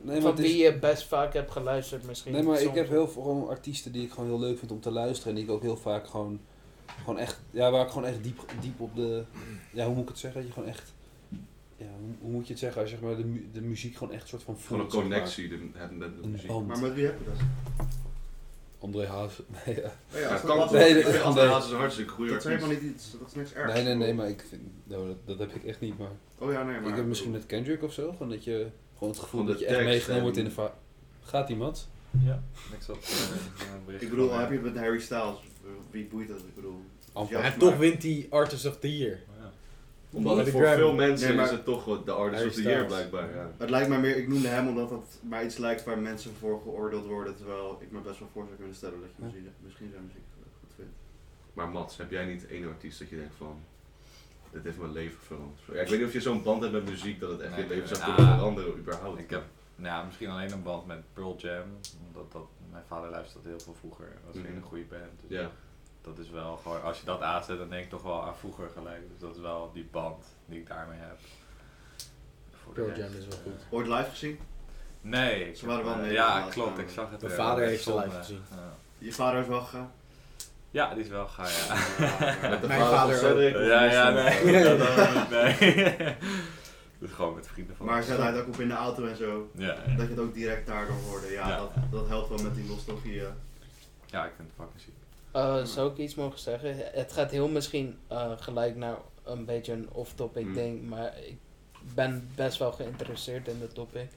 D: Nee, maar,
A: van
D: het is-
A: wie je best vaak hebt geluisterd misschien.
D: nee, maar ik
A: soms.
D: heb heel veel gewoon artiesten die ik gewoon heel leuk vind om te luisteren. En die ik ook heel vaak gewoon, gewoon echt. Ja, waar ik gewoon echt diep, diep op de. Ja, hoe moet ik het zeggen? Dat je gewoon echt. Ja, hoe, hoe moet je het zeggen? Als je zeg maar de, mu- de muziek gewoon echt soort van
J: Gewoon
D: voelt.
J: een
D: zeg maar.
J: connectie de- hebt met de
D: Een
J: muziek.
D: band.
B: Maar met wie heb je dat?
D: André Haas. [laughs] Nee, ja.
B: Oh
J: Ja,
B: als
J: kan
B: dat
J: toch?
D: Nee,
J: Nee,
D: nee,
J: ik vind
D: nee.
J: André Hazes een hartstikke goede
B: dat is helemaal
J: artiest.
B: niet iets, dat is niks ergs.
D: nee, nee, nee, maar ik vind, nou, dat, dat heb ik echt niet. Maar,
B: Oh ja, nee, maar...
D: ik heb misschien met Kendrick of zo, gewoon dat je gewoon het gevoel
J: Van de
D: dat je echt
J: tekst
D: meegenomen
J: en-
D: wordt in de va- Gaat die mat?
L: Ja. Ik zat eh, in een bericht.
B: Ik bedoel,
L: van-
B: heb je het met Harry Styles? Wie boeit dat? Ik bedoel...
D: Amper.
B: Ja,
E: En
B: maar-
E: toch wint die Artist of the Year.
L: Oh, Ja.
J: Omdat het
E: de
J: voor
E: Grammy.
J: veel mensen
B: Nee, maar-
J: is het toch wel de artist
E: Harry
J: of the year
E: Styles.
J: blijkbaar. Ja.
B: Het lijkt mij meer, ik noemde hem omdat dat maar iets lijkt waar mensen voor geoordeeld worden, terwijl ik me best wel voor zou kunnen stellen dat je
D: Ja.
B: misschien, misschien zijn muziek goed vindt.
J: Maar Mats, heb jij niet één artiest dat je denkt van... Dit heeft mijn leven veranderd. Ja, ik weet niet of je zo'n band hebt met muziek dat het echt
L: Nee,
J: je leven zou
L: ah.
J: kunnen veranderen überhaupt.
L: Ik heb nou, ja, misschien alleen een band met Pearl Jam. Omdat dat, mijn vader luisterde heel veel vroeger. Dat was
J: Mhm.
L: een goede band. Dus
J: Ja.
L: Dat is wel gewoon, als je dat aanzet, dan denk ik toch wel aan vroeger gelijk. Dus dat is wel die band die ik daarmee heb. Voor de
E: Pearl
L: rest,
E: Jam is wel
L: eh,
E: goed.
B: Ooit live gezien?
L: Nee. ik
B: Ze waren
L: heb,
B: wel
L: eh,
B: Nederland
L: Ja,
B: laatst
L: klopt. Ik
B: namelijk.
L: zag het.
E: Mijn
L: eh,
E: vader
L: op
E: heeft ze
L: zonde.
E: live gezien.
L: Ja.
B: Je vader is wel gegaan.
J: [laughs]
L: Ja, die is wel gaar, ja.
B: Met
E: Mijn vader ook.
L: Ja, ja, nee.
J: [laughs]
E: Ja.
L: Dat, eh, nee. [laughs] Dus gewoon met vrienden van
B: Maar
L: ons.
B: ze rijdt ook op in de auto en zo,
L: Ja, ja.
B: dat je het ook direct daardoor hoorde. Ja,
L: Ja.
B: Dat, dat helpt wel met die nostalgie. ja.
L: ja, ik vind het fucking ziek.
A: Eh, zou ik iets mogen zeggen? Het gaat heel misschien eh, gelijk naar een beetje een off-topic
J: Hmm.
A: ding, maar ik ben best wel geïnteresseerd in de topic.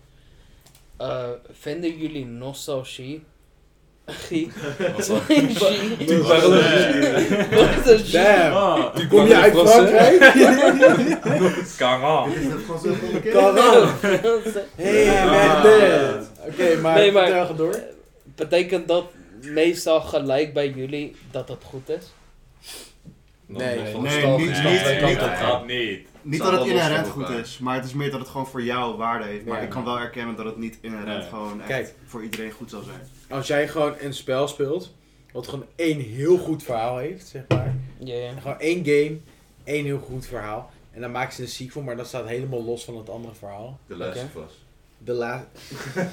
A: Eh, vinden jullie nostalgie? Gie- [laughs] Nostalgie. Nostalgie.
L: Oh,
E: Kom je
B: [laughs]
E: uit Frankrijk?
L: Kangal.
B: [laughs] Dit is het gewoon zo goed
E: [laughs] Hey,
L: Ah.
E: man, dit. Oké, maar,
A: Nee, maar-
E: vertel gewoon door.
A: [laughs] Betekent dat meestal gelijk bij jullie dat dat goed is?
E: Nee,
D: nee,
B: Nee, niet,
A: Nee,
B: niet,
A: nee,
B: niet,
L: dat
A: dat
L: gaat niet.
B: niet
J: Zal
B: dat het
J: wel los van
B: inherent goed
J: elkaar.
B: is, maar het is meer dat het gewoon voor jou waarde heeft. Maar
E: Ja.
B: ik kan wel erkennen dat het niet inherent
L: Nee.
B: gewoon echt
E: Kijk.
B: voor iedereen goed zal zijn.
E: Als jij gewoon een spel speelt, wat gewoon één heel goed verhaal heeft, zeg maar.
A: Ja, ja.
E: Gewoon één game, één heel goed verhaal. En dan maken ze een sequel, maar dat staat helemaal los van het andere verhaal.
J: De laatste was.
E: De la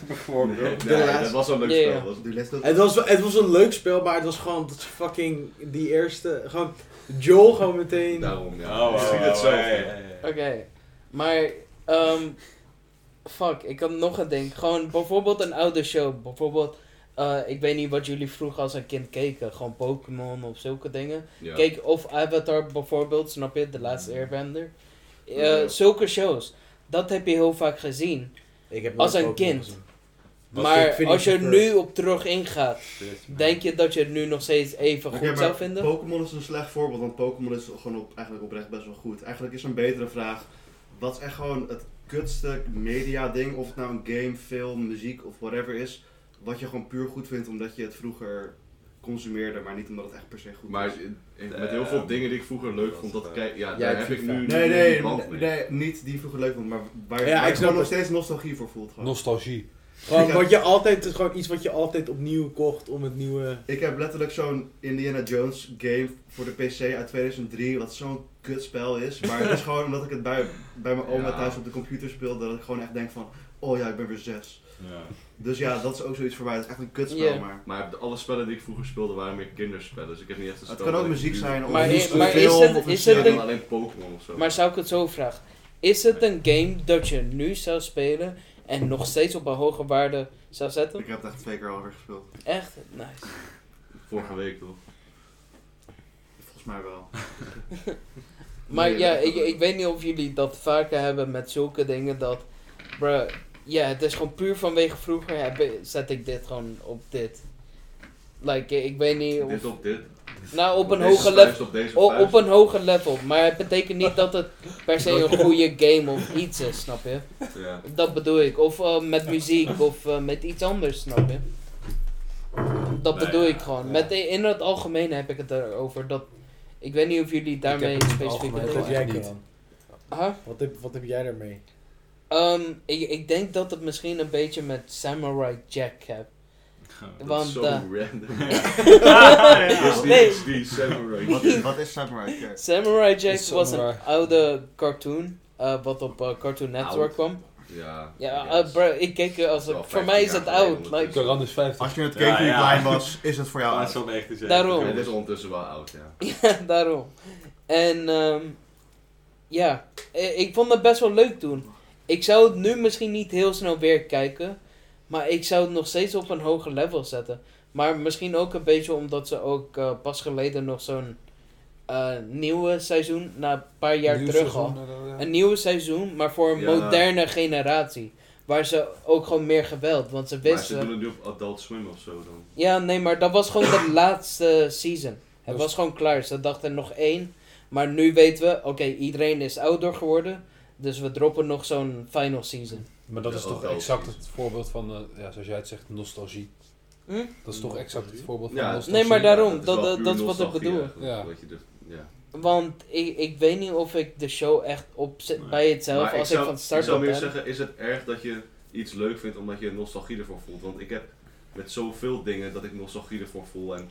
J: Bijvoorbeeld. Nee,
E: De
J: nee,
E: laatste-
J: dat was wel een leuk
A: Ja, ja.
J: spel. Was
B: De les
E: het, was, wel- het was een leuk spel, maar het was gewoon dat ze fucking die eerste... Gewoon Joel gewoon meteen...
J: Daarom, ja.
L: Oh,
J: ik zie het zo.
A: Oké, maar ehm fuck, ik had nog een ding. Gewoon bijvoorbeeld een oude show. Bijvoorbeeld, eh, ik weet niet wat jullie vroeger als een kind keken. Gewoon Pokémon of zulke dingen.
J: Ja.
A: Kijk, of Avatar bijvoorbeeld, snap je? De laatste Airbender. Eh,
J: Ja.
A: Zulke shows. Dat heb je heel vaak gezien.
E: Ik heb
A: Als
E: nooit
A: een
E: Pokémon
A: kind.
E: gezien. Was ik
A: Maar
E: vind
A: als
E: ik
A: je
E: de
A: er
E: first.
A: nu op terug ingaat, denk je dat je het nu nog steeds even
B: Oké,
A: goed
B: maar
A: zou vinden?
B: Pokémon is een slecht voorbeeld, want Pokémon is gewoon op, eigenlijk oprecht best wel goed. Eigenlijk is een betere vraag, wat is echt gewoon het kutste media ding, of het nou een game, film, muziek of whatever is, wat je gewoon puur goed vindt omdat je het vroeger consumeerde, maar niet omdat het echt per se goed
J: Maar
B: is.
J: ik- ik- met heel veel dingen die ik vroeger leuk
L: dat
J: vond,
L: is
J: dat
L: waar.
J: kijk, ja,
E: Ja,
J: daar
E: ik
J: heb
E: vind
J: ik nu
E: het
B: Nee, nee,
J: een band mee.
B: nee, niet die je vroeger leuk vond, maar waar,
E: Ja,
B: waar
E: ik
B: je
E: snap
B: gewoon nog
E: het.
B: steeds nostalgie voor voelt. Gewoon.
D: Nostalgie.
E: Gewoon,
B: Ja.
E: wat je altijd, het is gewoon iets wat je altijd opnieuw kocht om het nieuwe...
B: Ik heb letterlijk zo'n Indiana Jones game voor de PC uit 2003, wat zo'n kutspel is. Maar
A: [laughs]
B: het is gewoon omdat ik het bij, bij mijn oma
J: Ja.
B: thuis op de computer speel, dat ik gewoon echt denk van, oh ja, ik ben weer zes. Dus ja, dat is ook zoiets voor mij. Het is echt een kutspel,
A: Ja.
B: maar...
J: Maar de- alle spellen die ik vroeger speelde waren meer kinderspellen, dus ik heb niet echt een
B: Het
J: spel
B: kan
J: dat
B: ook
J: ik
B: muziek
J: nu-
B: zijn, of
A: Maar
B: een
A: is-
B: film,
A: maar is het-
B: of een
A: is het
J: Ja,
B: serie.
J: dan alleen Pokémon of zo.
A: Maar zou ik het zo vragen? Is het een game dat je nu zou spelen en nog steeds op een hoge waarde zou zetten?
B: Ik heb het echt twee keer alweer gespeeld.
A: Echt? Nice.
J: Vorige week toch?
B: Volgens mij wel.
A: [laughs] Maar
B: Nee,
A: ja,
B: dat-
A: ik, ik weet niet of jullie dat vaker hebben met zulke dingen dat... Bruh, ja, het is gewoon puur vanwege vroeger heb, ik- zet ik dit gewoon op dit. Like, ik weet niet of...
J: Dit op dit.
A: Nou, op een
J: deze
A: hoger
J: vuist
A: level.
J: Op deze
A: o-
J: vuist.
A: Op een hoger level. Maar het betekent niet dat het per se een goede game of iets is, snap je?
J: Ja.
A: Dat bedoel ik. Of eh, met muziek of eh, met iets anders, snap je? dat
F: Nee,
A: bedoel
F: ja,
A: ik gewoon. Met, in het algemeen heb ik het erover. Dat, ik weet niet of jullie daarmee
M: het in het
A: specifiek
M: algemeen
E: Wat
M: Nee,
E: heb
A: bedoelen.
M: gezien.
E: jij
M: niet.
E: dan?
A: Huh?
E: Wat heb, wat heb jij daarmee?
A: Ehm, ik, ik denk dat het misschien een beetje met Samurai Jack heb.
B: Dat
A: Want,
B: is zo
A: eh,
B: [laughs] random.
F: ja.
B: Dus die,
A: Nee.
B: is die Samurai
C: Wat
B: Jack.
C: is, wat is Samurai Jack?
A: Samurai Jack
M: Is
A: was een
M: Samurai.
A: oude cartoon. eh, wat op eh, Cartoon Network
F: Oud.
A: kwam.
B: Ja.
A: Ja,
B: yes.
A: eh, bro, ik keek eh, als
B: Wel
A: ik- Voor
B: 15
A: mij is
B: jaar
A: het
B: geleden
A: oud. Like,
B: ondertussen.
M: Karan is
B: Ah,
M: 50.
C: Als je het
F: Ja,
C: keek toen je
F: ja.
C: klein was, is het voor jou
F: Dat
C: oud.
F: is wel echt te zeggen.
A: Daarom.
B: Het is ondertussen wel oud, ja.
A: ja, [laughs] daarom. En ehm, ja, eh, ik vond het best wel leuk toen. Ik zou het nu misschien niet heel snel weer kijken. Maar ik zou het nog steeds op een hoger level zetten. Maar misschien ook een beetje omdat ze ook eh, pas geleden nog zo'n eh, nieuwe seizoen, na een paar jaar
M: Nieuw
A: terug
M: seizoen,
A: al.
M: eh, ja.
A: Een nieuwe seizoen, maar voor een
B: Ja.
A: moderne generatie. Waar ze ook gewoon meer geweld, want ze
B: Maar ze
A: wisten...
B: doen het nu op Adult Swim of zo dan.
A: Ja, nee, maar dat was gewoon
B: [coughs]
A: de laatste season. Het
M: Dus-
A: was gewoon klaar. Ze dachten nog één. Maar nu weten we, oké, iedereen is ouder geworden. Dus we droppen nog zo'n final season.
M: Maar dat
B: Ja,
M: is toch
B: wel
M: exact
B: precies.
M: het voorbeeld van, eh, ja, zoals jij het zegt, nostalgie.
A: Hm?
M: Dat is toch exact het voorbeeld van
B: Ja.
M: nostalgie.
A: Nee, maar daarom,
B: is
A: dat-
B: wel
A: dat-
B: puur
A: dat is wat ik
B: nostalgie
A: bedoel.
B: eigenlijk,
M: Ja.
B: Wat je dus- ja.
A: Want ik, ik weet niet of ik de show echt op zit bij hetzelfde
B: Maar
A: als ik,
B: zou,
A: van start
B: ik zou
A: af
B: meer
A: ben.
B: zeggen, is het erg dat je iets leuk vindt omdat je nostalgie ervoor voelt? Want ik heb met zoveel dingen dat ik nostalgie ervoor voel. En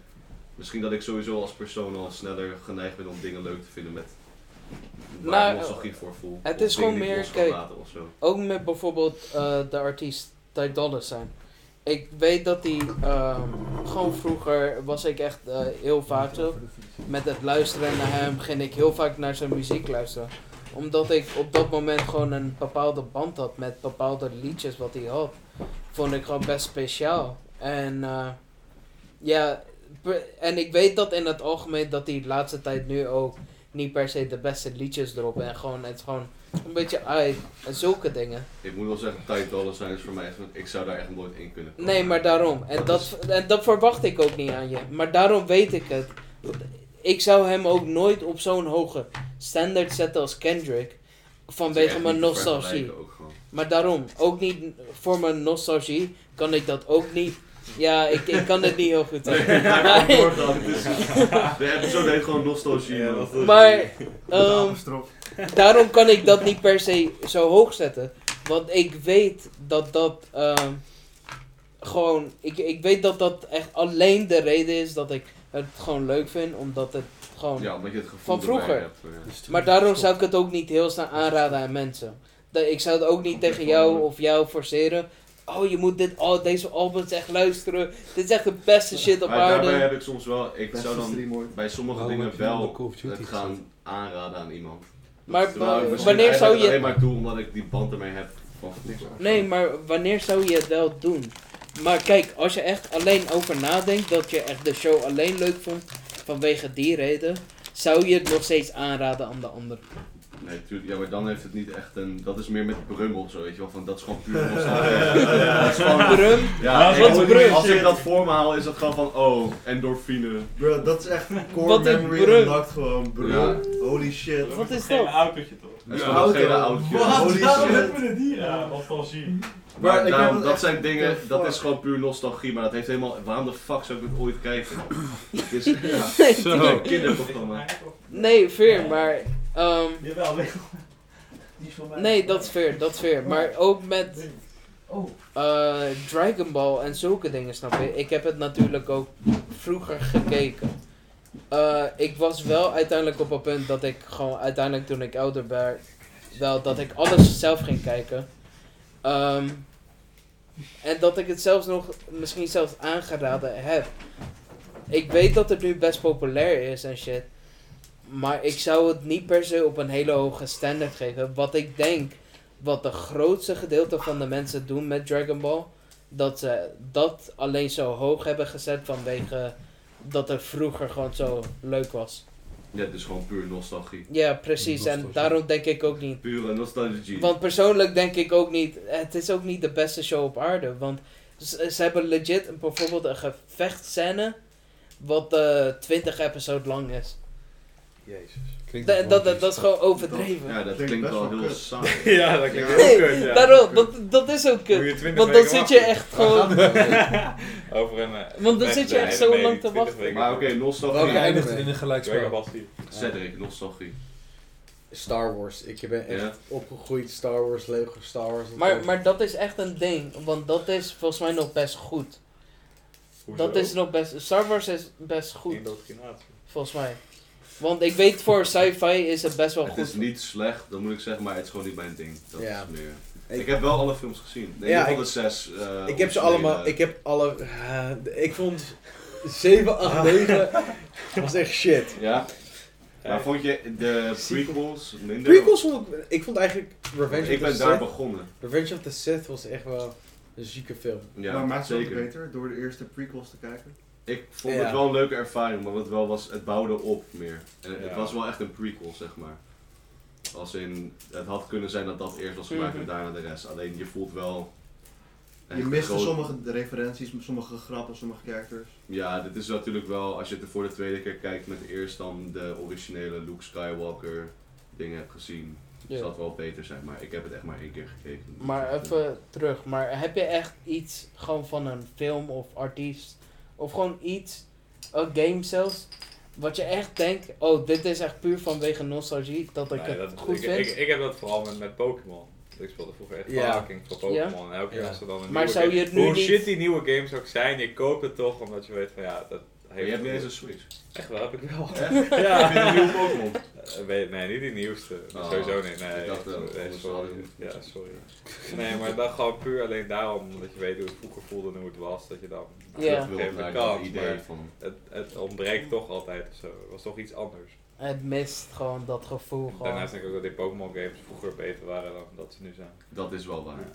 B: misschien dat ik sowieso als persoon al sneller geneigd ben om dingen leuk te vinden met waar
A: Nou,
B: ik nostalgie voor voel.
A: het
B: Of dingen
A: is gewoon
B: die ik
A: meer,
B: los kan
A: kijk,
B: laten of zo.
A: Ook met bijvoorbeeld eh, de artiest Ty Dolla Sign. Ik weet dat die ehm, gewoon vroeger was ik echt eh, heel vaak zo. Met het luisteren naar hem ging ik heel vaak naar zijn muziek luisteren. Omdat ik op dat moment gewoon een bepaalde band had met bepaalde liedjes wat hij had. Vond ik gewoon best speciaal. En eh, ja, per- en ik weet dat in het algemeen dat hij de laatste tijd nu ook niet per se de beste liedjes erop. En gewoon, het is gewoon een beetje uit en zulke dingen.
B: Ik moet wel zeggen, Ty Dolla Sign is voor mij echt, want ik zou daar echt nooit in kunnen komen.
A: Nee, maar daarom. En dat, en dat verwacht ik ook niet aan je. Maar daarom weet ik het. Ik zou hem ook nooit op zo'n hoge standaard zetten als Kendrick.
B: Het is echt
A: Vanwege
B: niet
A: mijn
B: te
A: nostalgie.
B: vergelijken ook gewoon.
A: Maar daarom, ook niet voor mijn nostalgie, kan ik dat ook niet. Ja, ik, ik kan het niet heel
B: [laughs]
A: goed
B: Nee,
A: [laughs] zeggen.
B: daar kan
A: Maar,
B: doorgaan. Het is- De episode heet gewoon nostalgie. man.
A: maar
C: Met
A: ehm,
C: apenstrop.
A: daarom kan ik dat niet per se zo hoog zetten. Want ik weet dat dat ehm, gewoon. Ik, ik weet dat dat echt alleen de reden is dat ik het gewoon leuk vind. Omdat het gewoon.
B: ja, omdat je het gevoel
A: Van
B: erbij
A: vroeger.
B: hebt, eh.
A: Maar daarom zou ik het ook niet heel snel aanraden aan mensen. Dat- Ik zou het ook niet tegen jou of jou forceren. Oh, je moet dit, oh, deze albums echt luisteren. Dit is echt de beste shit op
B: Maar daarbij
A: aarde.
B: heb ik soms wel, ik
C: Best
B: zou dan
C: stream ooit.
B: bij sommige
M: Waarom
B: dingen
M: heb je dan de
B: wel
M: Call of Duty
B: het gaan aanraden aan iemand.
A: Maar
B: Terwijl
A: wa-
B: ik misschien
A: wanneer zou
B: eigenlijk alleen
A: je...
B: maar doe omdat ik die band ermee heb van vroeger.
A: Nee, maar wanneer zou je het wel doen? Maar kijk, als je echt alleen over nadenkt dat je echt de show alleen leuk vond vanwege die reden, zou je het nog steeds aanraden aan de ander.
B: Nee, tuurlijk. Ja, maar dan heeft het niet echt een... Dat is meer met brummel zo, weet je wel. Van, dat is gewoon puur
F: [laughs] Ja.
B: nostalgie. Dat is gewoon...
A: Brum,
B: Ja,
F: Wat
B: ik moet-
A: brul.
B: als ik dat voor me haal, is dat gewoon van, oh, endorfine.
C: Bro, dat is echt een core
A: Wat een
C: memory
A: brug.
C: unlocked gewoon, bro.
B: Ja.
C: Holy shit.
A: Wat is
N: Geen
A: dat?
N: autootje toch?
B: Dat is
F: Ja.
B: gewoon een
C: Auto.
B: gele autootje.
C: Wat?
B: Holy
C: Ja,
B: shit.
C: dat-
N: Met die ja, nostalgie.
C: Maar ik
B: Maar
C: heb
B: daarom,
C: het
B: dat
C: echt-
B: zijn dingen,
C: the
B: dat
C: fuck?
B: is gewoon puur nostalgie, maar dat heeft helemaal... Waarom de fuck zou ik het ooit kijken? Het is ja,
M: Zo.
B: een kinderprogramma.
A: Nee, veer, maar... ehm,
N: Jawel, weet je wel. Die is van mij.
A: nee, dat is fair, dat is fair. Maar ook met
N: Oh,
A: eh, Dragon Ball en zulke dingen, snap je? Ik heb het natuurlijk ook vroeger gekeken. Eh, ik was wel uiteindelijk op een punt dat ik gewoon uiteindelijk toen ik ouder werd, wel dat ik alles zelf ging kijken. Ehm, en dat ik het zelfs nog misschien zelfs aangeraden heb. Ik weet dat het nu best populair is en shit. Maar ik zou het niet per se op een hele hoge standaard geven. Wat ik denk, wat de grootste gedeelte van de mensen doen met Dragon Ball, dat ze dat alleen zo hoog hebben gezet vanwege dat het vroeger gewoon zo leuk was.
B: Ja, dus gewoon puur nostalgie.
A: Ja, precies. En
M: Nostalgie.
A: daarom denk ik ook niet.
B: Pure nostalgie.
A: Want persoonlijk denk ik ook niet, het is ook niet de beste show op aarde. Want ze, ze hebben legit een- bijvoorbeeld een gevechtscène wat eh 20 episode lang is.
E: Jezus.
M: Klinkt
A: Dat, dat, dat,
M: romantisch.
A: dat is gewoon overdreven.
B: Ja, dat
C: Klinkt
B: klinkt
C: best
B: wel
C: wel
B: heel
C: kut.
B: saai.
O: Ja, dat klinkt
C: Ja.
O: heel
A: Nee,
O: kut, ja.
A: daarom, dat, dat is ook
O: Moet
A: kut.
O: je 20
A: Want dan
O: weken
A: zit je
O: wachten.
N: [laughs]
A: echt gewoon.
O: Over een... eh,
A: Want dan
O: nee,
A: zit je
O: nee,
A: echt
O: nee,
A: zo
O: nee,
A: lang te
O: 20
A: wachten.
O: weken.
B: Maar oké, nostalgie.
M: Welke
E: Oké.
M: eindigt er in een
O: Ik werk
M: gelijkspel?
O: pas hier.
B: Cedric, nostalgie.
E: Star Wars. Ik ben echt
B: Ja.
E: opgegroeid Star Wars, Lego, Star Wars. dat
A: Maar,
E: ook.
A: maar dat is echt een ding, want dat is volgens mij nog best goed.
O: Hoezo?
A: Dat is nog best. Star Wars is best goed,
O: Indoctrinatie.
A: volgens mij. Want ik weet voor sci-fi is het best wel
B: het
A: goed.
B: is niet slecht, dat moet ik zeggen, maar het is gewoon niet mijn ding. Dat
E: Ja.
B: is meer.
E: Ik-
B: Ik, heb wel alle films gezien. Nee,
E: Ja,
B: ja,
E: ik-
B: de zes. eh,
E: Ik heb
B: originele.
E: ze allemaal. Ik heb alle. eh, ik vond 7, 8,
B: [laughs]
E: 9 was echt shit.
B: Ja? Maar vond je de prequels minder?
E: Prequels vond ik. Ik vond eigenlijk
B: Ik
E: Revenge of the
B: ben daar
E: Sith.
B: begonnen.
E: Revenge of the Sith was echt wel een zieke film.
B: Ja,
C: maar maakt het ook
B: zeker.
C: beter door de eerste prequels te kijken?
B: Ik vond
E: Ja.
B: het wel een leuke ervaring, maar wat wel was, het bouwde op meer. En het
O: Ja.
B: was wel echt een prequel, zeg maar. Als in, het had kunnen zijn dat dat eerst was gemaakt
A: Mhm.
B: en daarna de rest. Alleen je voelt wel...
C: je
B: echt
C: miste
B: een groot-
C: sommige referenties, sommige grappen, sommige characters.
B: Ja, dit is natuurlijk wel, als je het voor de tweede keer kijkt met eerst dan de originele Luke Skywalker dingen hebt gezien,
A: Ja.
B: zou het wel beter zijn. Maar ik heb het echt maar één keer gekeken.
A: Maar even terug, maar heb je echt iets gewoon van een film of artiest of gewoon iets, een game zelfs, wat je echt denkt, oh dit is echt puur vanwege nostalgie dat ik
O: Nee,
A: het
O: dat-
A: goed
O: ik,
A: vind?
O: ik, ik heb dat vooral met, met Pokémon. Ik speelde vroeger echt
E: Ja.
O: fucking veel Pokémon. En elke keer
E: Ja.
O: als er dan een
A: Maar
O: nieuwe
A: zou je
O: game-
A: het nu
O: Hoe
A: niet-
O: shit die nieuwe games ook zijn, je koopt het toch omdat je weet van ja, dat
B: Hey, je hebt niet eens een
A: [laughs]
O: een...
B: Switch.
O: Echt wel, heb ik wel.
B: Echt?
O: Ja.
B: Heb je een nieuwe Pokémon?
O: Eh, weet- nee, niet die nieuwste.
B: Oh,
O: Sowieso niet. Nee,
B: ik dacht wel,
O: nee,
B: anders
O: sorry.
B: hadden we het
O: Ja,
B: moeten
O: sorry. Nee, maar dan gewoon puur alleen daarom, omdat je weet hoe het vroeger voelde en hoe het was, dat je dan
A: Ja.
B: Ik wil
O: geef een
B: daar een
O: kans.
B: idee
O: Maar
B: van.
O: het, het ontbreekt toch altijd of zo. Het was toch iets anders.
A: Het mist gewoon dat gevoel gewoon.
O: Daarnaast denk ik ook dat die Pokémon games vroeger beter waren dan dat ze nu zijn.
B: Dat is wel waar.
O: Ja.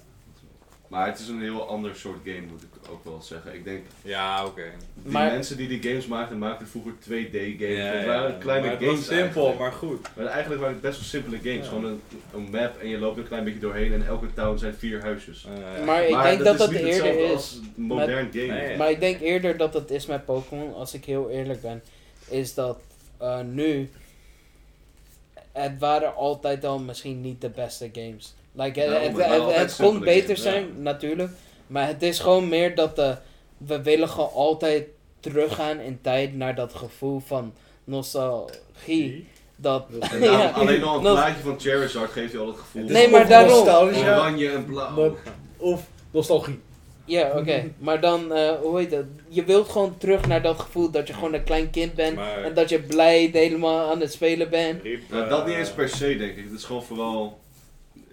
B: Maar het is een heel ander soort game, moet ik ook wel zeggen. Ik denk,
O: Ja, oké.
B: die
A: Maar-
B: mensen die die games maakten, maakten vroeger 2D-games.
O: Ja,
B: het
O: ja,
B: waren
O: ja.
B: kleine
O: maar het was
B: games
O: simpel,
B: eigenlijk.
O: maar goed.
B: Maar eigenlijk waren het best wel simpele games.
O: Ja.
B: Gewoon een, een map en je loopt een klein beetje doorheen en elke town zijn vier huisjes.
O: Eh,
A: Maar ik denk dat
B: is
A: dat
B: niet
A: eerder
B: hetzelfde
A: is.
B: als een modern game.
O: Nee, ja.
A: Maar ik denk eerder dat het is met Pokémon, als ik heel eerlijk ben, is dat eh, nu. Het waren altijd al misschien niet de beste games. Like, het
B: Daarom,
A: het,
B: het waren Nou,
A: het-
B: altijd
A: het kon
B: simpele
A: beter
B: games,
A: zijn,
B: ja.
A: natuurlijk. Maar het is gewoon meer dat de, we willen gewoon altijd teruggaan in tijd naar dat gevoel van nostalgie. Dat,
B: En daarom-
A: [laughs] ja,
B: alleen al een
A: dat-
B: plaatje van Charizard geeft je al het gevoel.
A: Nee,
B: van
A: maar daarom.
E: Nostalgia
B: Oranje en blauw.
E: maar- of nostalgie.
A: ja, oké. Maar dan, eh, hoe heet dat? Je wilt gewoon terug naar dat gevoel dat je gewoon een klein kind bent.
O: maar
A: En dat je blij helemaal aan het spelen bent.
O: Riep,
B: Nou, dat niet
O: eh,
B: eens per se, denk ik. Het is gewoon vooral...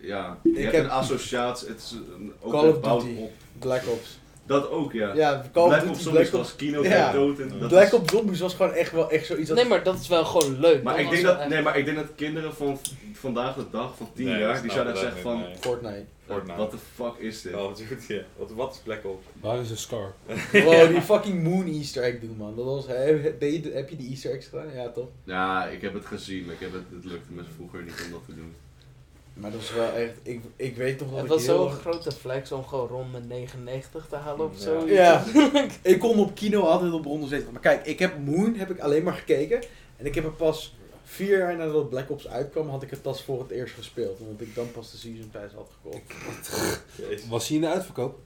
B: Ja, je hebt
E: heb-
B: een associatie. Het is een, ook
E: Call of
B: een bouwt
E: Duty.
B: op.
E: Black Ops.
B: Dat ook, ja.
E: Ja, Call of
B: Black Ops
E: Duty,
B: Zombies
E: Black Ops.
B: was Kino
E: Ja.
B: ja. dood. En dat
E: Black
B: is-
E: Ops Zombies was gewoon echt wel echt zoiets. dat-
A: Nee, maar dat is wel gewoon leuk.
B: Maar
A: Dan
B: ik, denk
A: was
B: dat,
A: het
B: nee,
A: echt-
B: maar ik denk dat kinderen van v- vandaag de dag, van 10
O: nee,
B: jaar,
O: dat
B: die
O: snap
B: zouden echt
O: ik
B: zeggen
O: ook
B: van...
O: niet,
E: Fortnite.
O: [laughs] Fortnite.
B: What the fuck is dit?
O: nee. Call of Duty, ja. eh, Oh, Wat, wat is Black Ops?
M: Waar is de scar?
E: Wow, die fucking Moon Easter egg doen, man. Dat was, heb, deed je- heb je die Easter eggs gedaan? Ja, toch?
B: Ja, ik heb het gezien, maar ik heb het, het lukte me vroeger niet om dat te doen.
E: Maar dat was wel echt. Ik, ik weet nog dat
A: Het
E: ik
A: was
E: heel
A: zo'n
E: erg-
A: grote flex om gewoon ronde 99 te halen of
O: Ja.
A: zo.
E: Ja,
A: [laughs]
E: ik kom op kino altijd op ronde 70. Maar kijk, ik heb Moon heb ik alleen maar gekeken. En ik heb er pas vier jaar nadat Black Ops uitkwam, had ik het pas voor het eerst gespeeld. Omdat ik dan pas de season pass had
O: [laughs]
E: gekocht.
O: Jezus.
M: Was hij in de uitverkoop?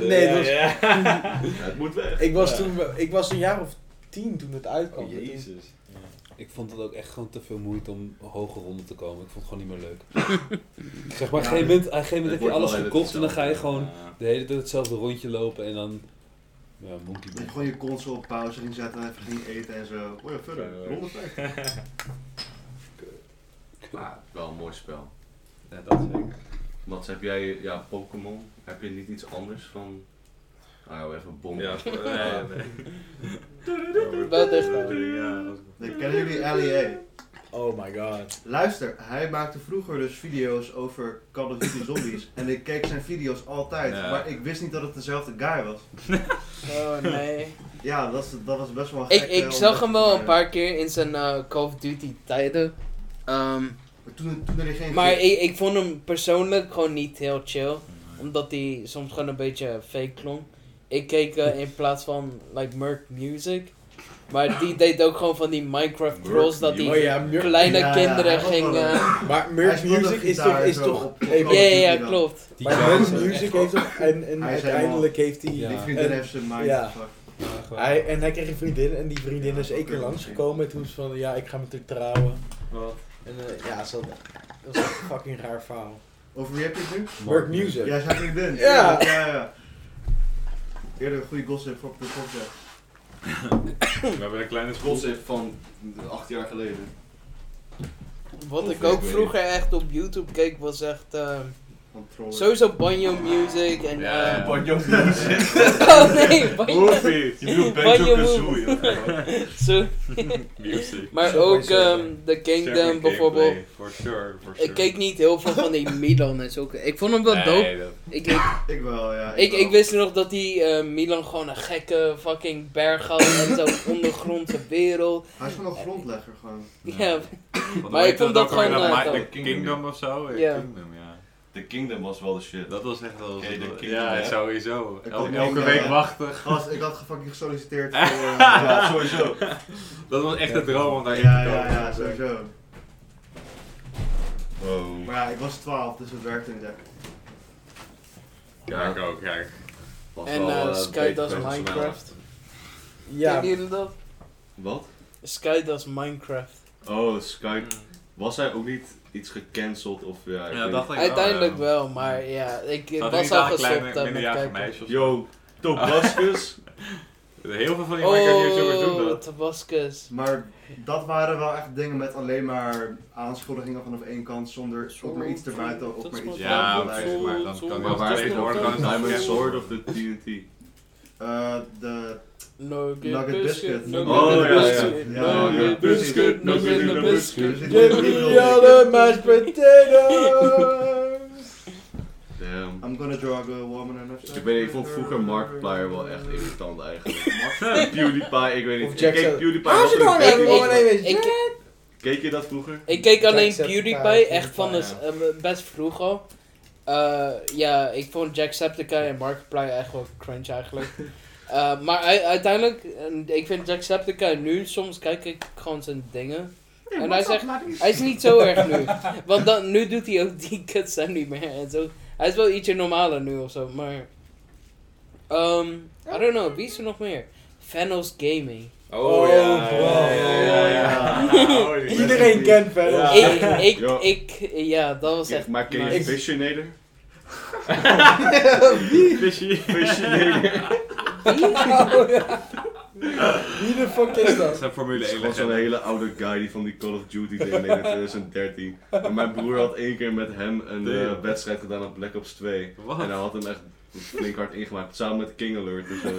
E: nee, dat was-
O: Ja,
B: Ja, het moet weg.
E: ik, was
O: Ja.
E: toen, wel- ik was een jaar of tien toen het uitkwam.
O: Oh, jezus.
M: Ik vond het ook echt gewoon te veel moeite om hoger ronde te komen. Ik vond het gewoon niet meer leuk. zeg maar, op een gegeven moment, op een gegeven moment heb
B: Het
M: je
B: wordt
M: alles
B: wel
M: gekocht en dan ga je
B: hetzelfde,
M: gewoon
O: Ja.
M: de hele tijd hetzelfde rondje lopen en dan... Ja, monkey
C: Dat je
M: Ball.
C: gewoon je console op pauze ging zetten en even ging eten en zo. Oh ja,
B: eh,
C: verder. Ronde vijf.
B: Maar wel een mooi spel.
O: Ja, dat zeker.
B: Wat heb jij, ja, Pokémon? Heb je niet iets anders van. Nou, even bom.
E: [laughs]
O: Ja, voor-
B: [laughs]
O: nee, nee.
A: Wel dicht.
O: Ja, dat is goed.
C: Dan kennen jullie LEA.
E: Oh my god.
C: Luister, hij maakte vroeger dus video's over Call of Duty
B: [laughs]
C: Zombies. en ik keek zijn video's altijd,
O: Ja.
C: maar ik wist niet dat het dezelfde guy was.
A: Oh nee.
C: Ja, dat, is, dat was best wel een
A: [laughs] ik
C: gek,
A: ik
C: eh,
A: zag
C: om-
A: hem wel
C: maar-
A: een paar keer in zijn eh, Call of Duty tijden. Ehm,
C: Maar toen, toen er geen...
A: maar ik, ik vond hem persoonlijk gewoon niet heel chill. Omdat hij soms gewoon een beetje fake klonk. Ik keek eh, in plaats van like Merc Music. Maar
B: [laughs]
A: die deed ook gewoon van die Minecraft trolls dat die
E: Oh ja, Mur-
A: kleine
C: Ja, ja, hij
A: kinderen
C: was
A: gingen...
C: wel een-
A: Ja,
E: maar
C: Hij
E: Murk
C: speelde
E: Music is
C: gitaar
E: toch... Is
C: zo
E: toch
C: op-
E: even-
C: op-
A: ja,
C: doet
A: ja,
C: hij dan?
A: klopt.
M: Die
E: maar
M: guy
E: Murk
M: is echt-
E: Music heeft toch... En, en
C: Hij is
E: uiteindelijk heeft hij...
M: Ja.
C: Die vriendin heeft zijn mind
E: Ja.
C: gevakt.
M: ja, gewoon-
E: Hij, en hij kreeg een vriendin en die vriendin is
C: Ja,
E: één keer
C: oké.
E: langsgekomen. En toen was ze van, ja, ik ga met haar trouwen.
B: Wat?
E: En eh, ja, ze had- dat was echt een fucking raar verhaal.
C: Over wie heb je het nu?
E: Murk Music.
C: Ja, zijn vriendin.
E: Ja.
C: ja, ja. Eerder een goede gossip voor op de podcast.
F: We hebben een kleine
B: Trots heeft van acht jaar geleden.
A: Wat
B: Of
A: ik ook
B: ik weet
A: vroeger echt op YouTube keek was echt... eh,
C: Van trollen.
A: sowieso banjo music en...
F: Ja,
A: eh,
F: ja.
B: Banjo Music.
A: [laughs] oh nee, banjo...
B: Hoefie. Je doet Banjo
A: [laughs]
B: Kazooie.
A: Zo-
F: music.
A: Maar
E: Subway
A: ook
E: Surfer.
A: ehm, The Kingdom
F: Check the
A: bijvoorbeeld.
F: gameplay, For sure, for sure.
A: Ik keek niet heel veel van die Milan en zulke. Ik vond hem wel dope.
F: Nee, dat-
A: Ik, ik,
C: Ik wel, ja.
A: ik,
C: wel.
A: ik wist nog dat die eh, Milan gewoon een gekke fucking berg had en zo'n ondergrondse wereld.
C: Hij is gewoon een grondlegger gewoon.
A: Ja.
F: Ja. Want
A: Maar ik
F: weet
A: vond
F: het
A: dat
F: ook alweer,
A: gewoon,
F: dat
A: eh,
F: My-
A: dat-
F: The Kingdom of zo. eh,
A: Ja.
F: Kingdom, ja.
B: The Kingdom was wel de shit.
F: Dat was echt wel.
B: Oké, The Kingdom,
F: ja,
B: hè?
F: sowieso.
C: Ik
F: El-
C: had
F: elke
C: nog,
F: week
C: eh,
F: wachten.
C: Gast, ik had fucking
A: [laughs]
C: gesolliciteerd voor... eh,
B: Ja,
C: ja,
B: sowieso.
F: Dat was echt de droom om daarin
C: ja,
F: te
C: ja,
F: komen.
C: ja, sowieso.
B: Wow.
C: Maar ja, ik was 12, dus het werkte niet echt.
F: Ja, ik ook, kijk.
B: Was
A: En,
B: wel,
A: eh,
B: eh,
A: Sky
B: beter
A: does
B: dan zo'n
A: Minecraft.
B: helft.
E: Ja,
A: Kennen jullie dat?
B: Wat?
A: Sky does Minecraft.
B: Oh, Sky. Was hij ook niet iets gecanceld of Oh, ja? ik weet
F: dacht ik
A: Uiteindelijk wel, maar ja, ik ik
F: Dat
A: was al gestopt eh, met
F: minderjarige
A: kijken.
F: meisjes.
B: niet. Yo, Toblascus.
F: Heel veel van die Minecraft-YouTubers doen
A: Oh,
F: dat.
A: Tabascus.
C: Maar dat waren wel echt dingen met alleen maar aanschuldigingen vanaf één kant, zonder ook maar iets erbuiten of maar iets
F: Ja,
C: erbij.
F: oké, maar dan kan
B: maar waar is
F: tegenwoordig
B: de
F: gewoon
B: Diamond Sword of de TNT?
C: Eh, de,
A: Nugget,
C: Nugget biscuit.
B: Oh, ja, ja.
A: biscuit,
C: Ja,
A: Nugget
C: ja, precies.
A: biscuit,
B: Nugget
A: nugget
B: biscuit.
A: biscuit.
C: Give me all of
E: mashed potatoes!
B: Damn.
C: I'm gonna drug a woman and a
B: Ik weet niet, ik vond vroeger Markiplier wel echt irritant eigenlijk. PewDiePie, ik weet
E: Of
B: niet. Ik
E: Jack
B: keek
E: Sal-
B: PewDiePie
E: How's
B: was
E: it
B: ook-
E: going,
B: keek-
E: everyone?
A: Ik- ik- ik-
B: Keek je dat vroeger?
A: Ik keek alleen
E: Jacksepticeye,
A: PewDiePie, echt van de,
E: PewDiePie,
A: eh, best vroeg al. Eh, ja, ik vond Jacksepticeye en Markiplier echt wel cringe
C: [laughs]
A: eigenlijk. Eh, maar u- uiteindelijk, eh, ik vind Jacksepticeye nu, soms kijk ik gewoon zijn dingen. en hij zegt, hij is niet zo erg nu. Want dan, nu doet hij ook die cutscene niet meer en zo. Hij is wel ietsje normaler nu of zo, maar... Ehm, I don't know, wie is er nog meer? Fennels Gaming.
O: Oh, ja,
E: bro.
O: ja, ja, ja, ja.
E: Iedereen kent verder.
O: Ja.
A: Ik,
E: [laughs]
A: ik,
B: Ja.
A: ik, ja, dat was
B: Ja,
A: echt
B: maar ken je
A: nice.
B: Visionator?
F: [laughs] Fishy.
B: Visionator.
E: Wie de fuck
F: Dat
E: is dat?
F: zijn Formule
B: Het
F: 1
B: was zo'n
F: legenden.
B: hele oude guy die van die Call of Duty deed in 2013. En mijn broer had één keer met hem een eh,
F: Damn.
B: wedstrijd gedaan op Black Ops 2.
F: Wat? [laughs]
B: En hij had hem echt flink hard ingemaakt, samen met King Alert en zo.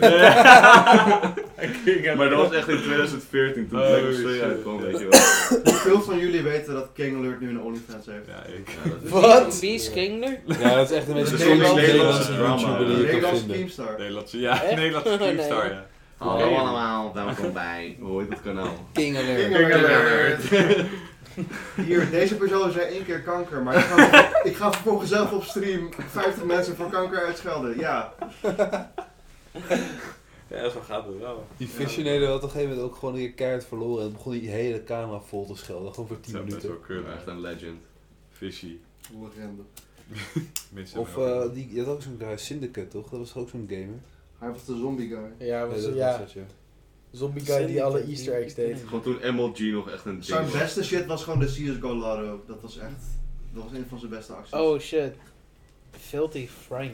B: Maar dat was echt in 2014 toen
F: Oh,
B: Black Ops 2
F: shit.
B: uitkwam, weet je wel.
C: Hoeveel van jullie weten dat King Alert nu een OnlyFans heeft?
F: Ja, ik.
B: Ja, dat is-
E: Wat?
A: Wie is Kingler?
D: Ja, dat is echt een
C: Dat is
D: beetje
C: een
D: de enige
C: Nederlandse
D: Nederlandse
B: drama, ja.
D: YouTuber die je kan
C: Nederlandse
D: vinden.
C: Keemstar.
F: Nederlandse, ja,
A: Echt?
F: Nederlandse
A: [laughs] Nee.
F: Keemstar, ja.
B: Hallo allemaal, welkom bij. Hoe heet dat kanaal?
A: King Alert.
C: King Alert. Hier, deze persoon zei één keer kanker, maar ik ga, ik ga vervolgens zelf op stream 50 mensen voor kanker uitschelden. Ja,
O: Ja, zo gaat het wel.
D: Die visionaire had op een gegeven moment ook gewoon een keer keihard verloren. En begon die hele camera vol te schelden. Gewoon voor 10
F: Dat is best
D: minuten.
F: wel kunnen.
B: Echt een legend.
F: Fishy.
D: [laughs]
F: Mensen
D: Of
F: hebben
D: eh, die, je had ook zo'n guy, Syndicate toch? Dat was toch ook zo'n gamer.
C: hij was de zombie guy.
E: Ja,
D: Ja,
E: was,
D: dat was
E: ja,
D: dat, ja.
E: zombie guy die alle easter eggs deed.
B: Gewoon toen MLG nog echt een
C: Zijn
B: ding was.
C: beste shit was gewoon de CSGO Lotto. Dat was echt, dat was een van zijn beste acties.
A: Oh shit. Filthy Frank.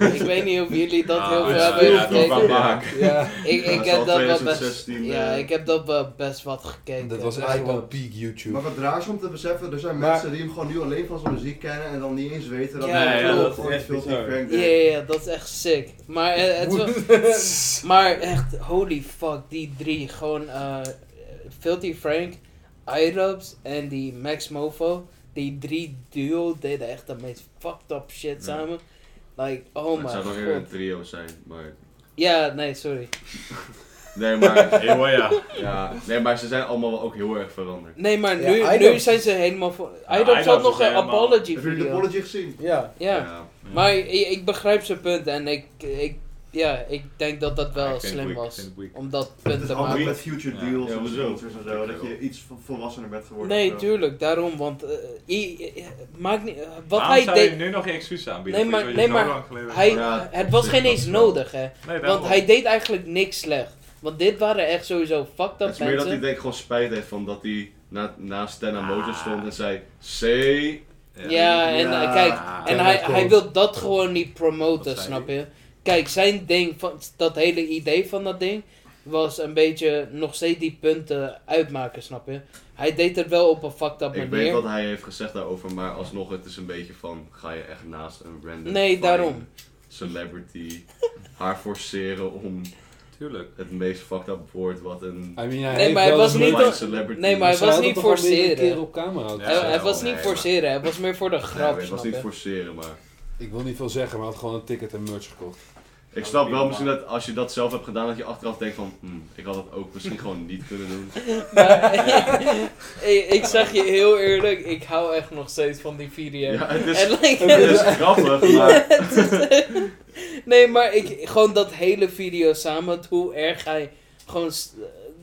A: ik weet niet of jullie dat
F: Ah,
A: heel veel
F: ja,
A: hebben
F: ja, dat
A: gekeken.
F: was-
D: Ja,
A: ik,
B: dat
A: ik
B: is al
A: heb dat wel best.
B: 2016,
A: Ja,
B: eh.
A: ik heb dat wel best wat gekeken.
D: dat was
A: Maar
D: echt
A: ik
D: gewoon
A: ook-
D: peak
C: Maar
F: [laughs]
D: YouTube.
C: wat raar is om te beseffen, er zijn
E: Maar-
C: mensen die hem gewoon nu alleen van zijn muziek kennen en dan niet eens weten dat
A: Ja,
C: hij
A: ja,
O: dat is
C: ooit
O: echt
C: veel
O: bizar.
C: te crank
A: Ja,
C: deed.
A: ja, ja, dat is echt sick. Maar eh,
E: [laughs]
A: het was, Maar echt, holy fuck, die drie. Gewoon eh Filthy Frank, Irubs en die Max Mofo. Die drie duo deden echt de meest fucked up shit
F: Ja.
A: samen. Like, oh
B: het
A: my
B: zou nog eerder een
A: god.
B: trio zijn, maar...
A: Ja, nee, sorry.
B: Nee, maar... [laughs]
F: Heel ja.
B: Ja, nee, maar ze zijn allemaal wel ook heel erg veranderd.
A: Nee, maar
E: Ja,
A: nu, nu
E: Irubs-
A: zijn ze helemaal voor.
F: Ja,
A: Irubs had
F: Irubs
A: nog
F: is
A: een
F: helemaal-
A: apology
C: Hebben jullie de
A: video.
C: apology gezien?
E: Ja.
A: Ja.
B: Ja.
A: Maar ik, ik begrijp zijn punt en ik, ik ja, ik denk dat dat
F: Ah,
A: wel
F: ik vind het
A: slim
F: weak,
A: was.
F: ik vind het weak.
A: Om dat
C: Het
A: punt
C: is
A: te
C: altijd
A: maken.
C: met future
F: Ja,
C: deals
B: ja,
C: en
B: maar zo.
C: sponsors en zo,
B: Ik
C: dat
B: wel.
C: je iets vo- volwassener bent geworden.
A: Nee,
C: of zo.
A: tuurlijk, daarom. Want eh, i- i- maakt niet, eh, wat
F: Waarom
A: hij
F: zou je
A: deed.
F: nu nog je excuses aanbieden? voor
A: Nee, maar-
F: iets wat je
A: nee,
F: zo
A: maar
F: lang geleden
A: Hij,
F: hebt
B: Ja,
A: het was
B: op
A: geen
B: zich
A: eens
B: was het wel.
A: nodig, hè?
F: gedaan? Nee, daarom.
A: Want hij deed eigenlijk niks slecht. Want dit waren echt sowieso fucked
B: Het
A: up
B: is meer dat hij
A: mensen.
B: denk ik gewoon spijt heeft van dat hij na, naast Stena
A: Ah.
B: Motors stond en zei C.
A: Ja, en
C: Ja.
A: eh, kijk, en
F: Ah,
D: Ja,
A: hij,
D: dat klopt.
A: hij wil dat gewoon niet
F: Wat
A: promoten,
F: zei
A: snap je? Kijk, zijn ding, van, dat hele idee van dat ding, was een beetje nog steeds die punten uitmaken, snap je? Hij deed het wel op een fucked up
B: Ik weet
A: manier.
B: wat hij heeft gezegd daarover, maar alsnog het is een beetje van ga je echt naast een random
A: Nee,
B: fine
A: daarom.
B: celebrity haar forceren om
F: Tuurlijk.
B: het meest fucked up woord wat een
D: I mean, hij
A: Nee,
D: heeft
A: maar hij
D: wel
A: was
D: een
A: niet
D: leuk-
B: fine
A: dat-
B: celebrity.
A: nee, maar hij
D: Zij
A: was
D: had
A: niet
D: het toch al meerdere
A: forceren.
D: keren op camera dus houden.
F: Ja.
A: Hij, hij was
B: Nee,
A: niet
B: maar-
A: forceren, hij was meer voor de
B: Nee, maar
A: grap,
B: het was
A: snap
B: niet
A: je?
B: forceren, maar.
D: Ik wil niet veel zeggen, maar hij had gewoon een ticket en merch gekocht.
B: Ik snap wel misschien dat als je dat zelf hebt gedaan, dat je achteraf denkt van, "Hmm, ik had dat ook misschien gewoon niet kunnen
A: [laughs]
B: doen.
A: Maar, ik, ik zeg je heel eerlijk, ik hou echt nog steeds van die video.
B: Ja, dus- het is,
A: En
B: [laughs]
A: like-
B: het is
A: [laughs]
B: grappig, maar
A: nee, maar ik, gewoon dat hele video samen, hoe erg hij gewoon st-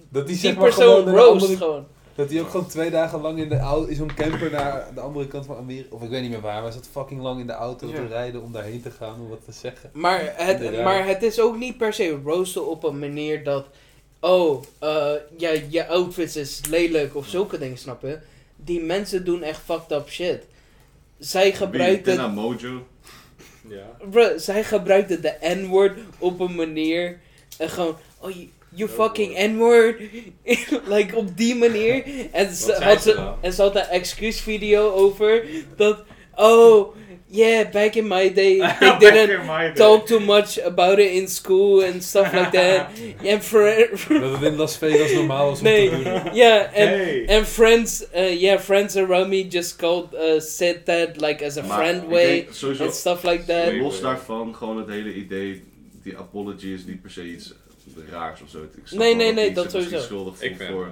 D: Dat die,
A: die
D: zeg maar gewoon
A: persoon
D: naar de
A: roast
D: andere-
A: gewoon.
D: Dat hij ook gewoon twee dagen lang in, de au- in zo'n camper naar de andere kant van Amerika. Of ik weet niet meer waar, maar hij zat fucking lang in de auto
A: Ja.
D: te rijden om daarheen te gaan om wat te zeggen.
A: Maar het,
D: Inderdaad.
A: maar het is ook niet per se roosten op een manier dat, oh, eh, ja, je outfit is lelijk of zulke dingen, snap je? Die mensen doen echt fucked up shit. Zij
B: wie
A: gebruikt het
B: Tenna Mojo,
O: Ja.
A: Bruh, zij gebruikte de N-word op een manier. En gewoon, oh, you, you fucking N-word. [laughs] like op die manier. En ze,
O: zei
A: had
O: ze
A: ze,
O: nou? dan?
A: en ze had een excuus video over. Dat, oh, yeah, back in
O: [laughs]
A: my day. They didn't talk too much about it in school and stuff like
O: [laughs]
A: that. And friends.
D: Dat het in Las Vegas normaal was om
A: nee,
D: te doen.
A: ja, en.
O: Hey.
A: And friends, uh, yeah, friends around me just called, uh, said that like as a
B: maar
A: friend
B: ik
A: way
B: denk sowieso,
A: and stuff like that.
O: Sorry.
B: los daarvan, gewoon het hele idee, die apology is niet per se iets raars of zo. Ik snap
A: Nee,
B: wel
A: nee,
B: dat
A: nee,
B: hij
A: dat
B: zich misschien
A: sowieso.
B: schuldig
O: Ik
B: voelt
O: ben
B: voor.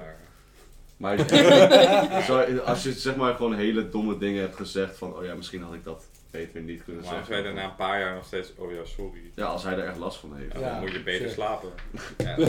O: maar-
B: Maar [laughs]
A: [laughs]
B: Zo, als je zeg maar gewoon hele domme dingen hebt gezegd van, oh ja, misschien had ik dat beter niet kunnen
O: Maar als wij
B: zeggen.
O: daarna een paar jaar nog steeds, oh ja, sorry.
B: Ja, als hij er echt last van heeft.
O: Ja,
D: Ja,
O: dan moet je beter
D: zeker.
O: slapen.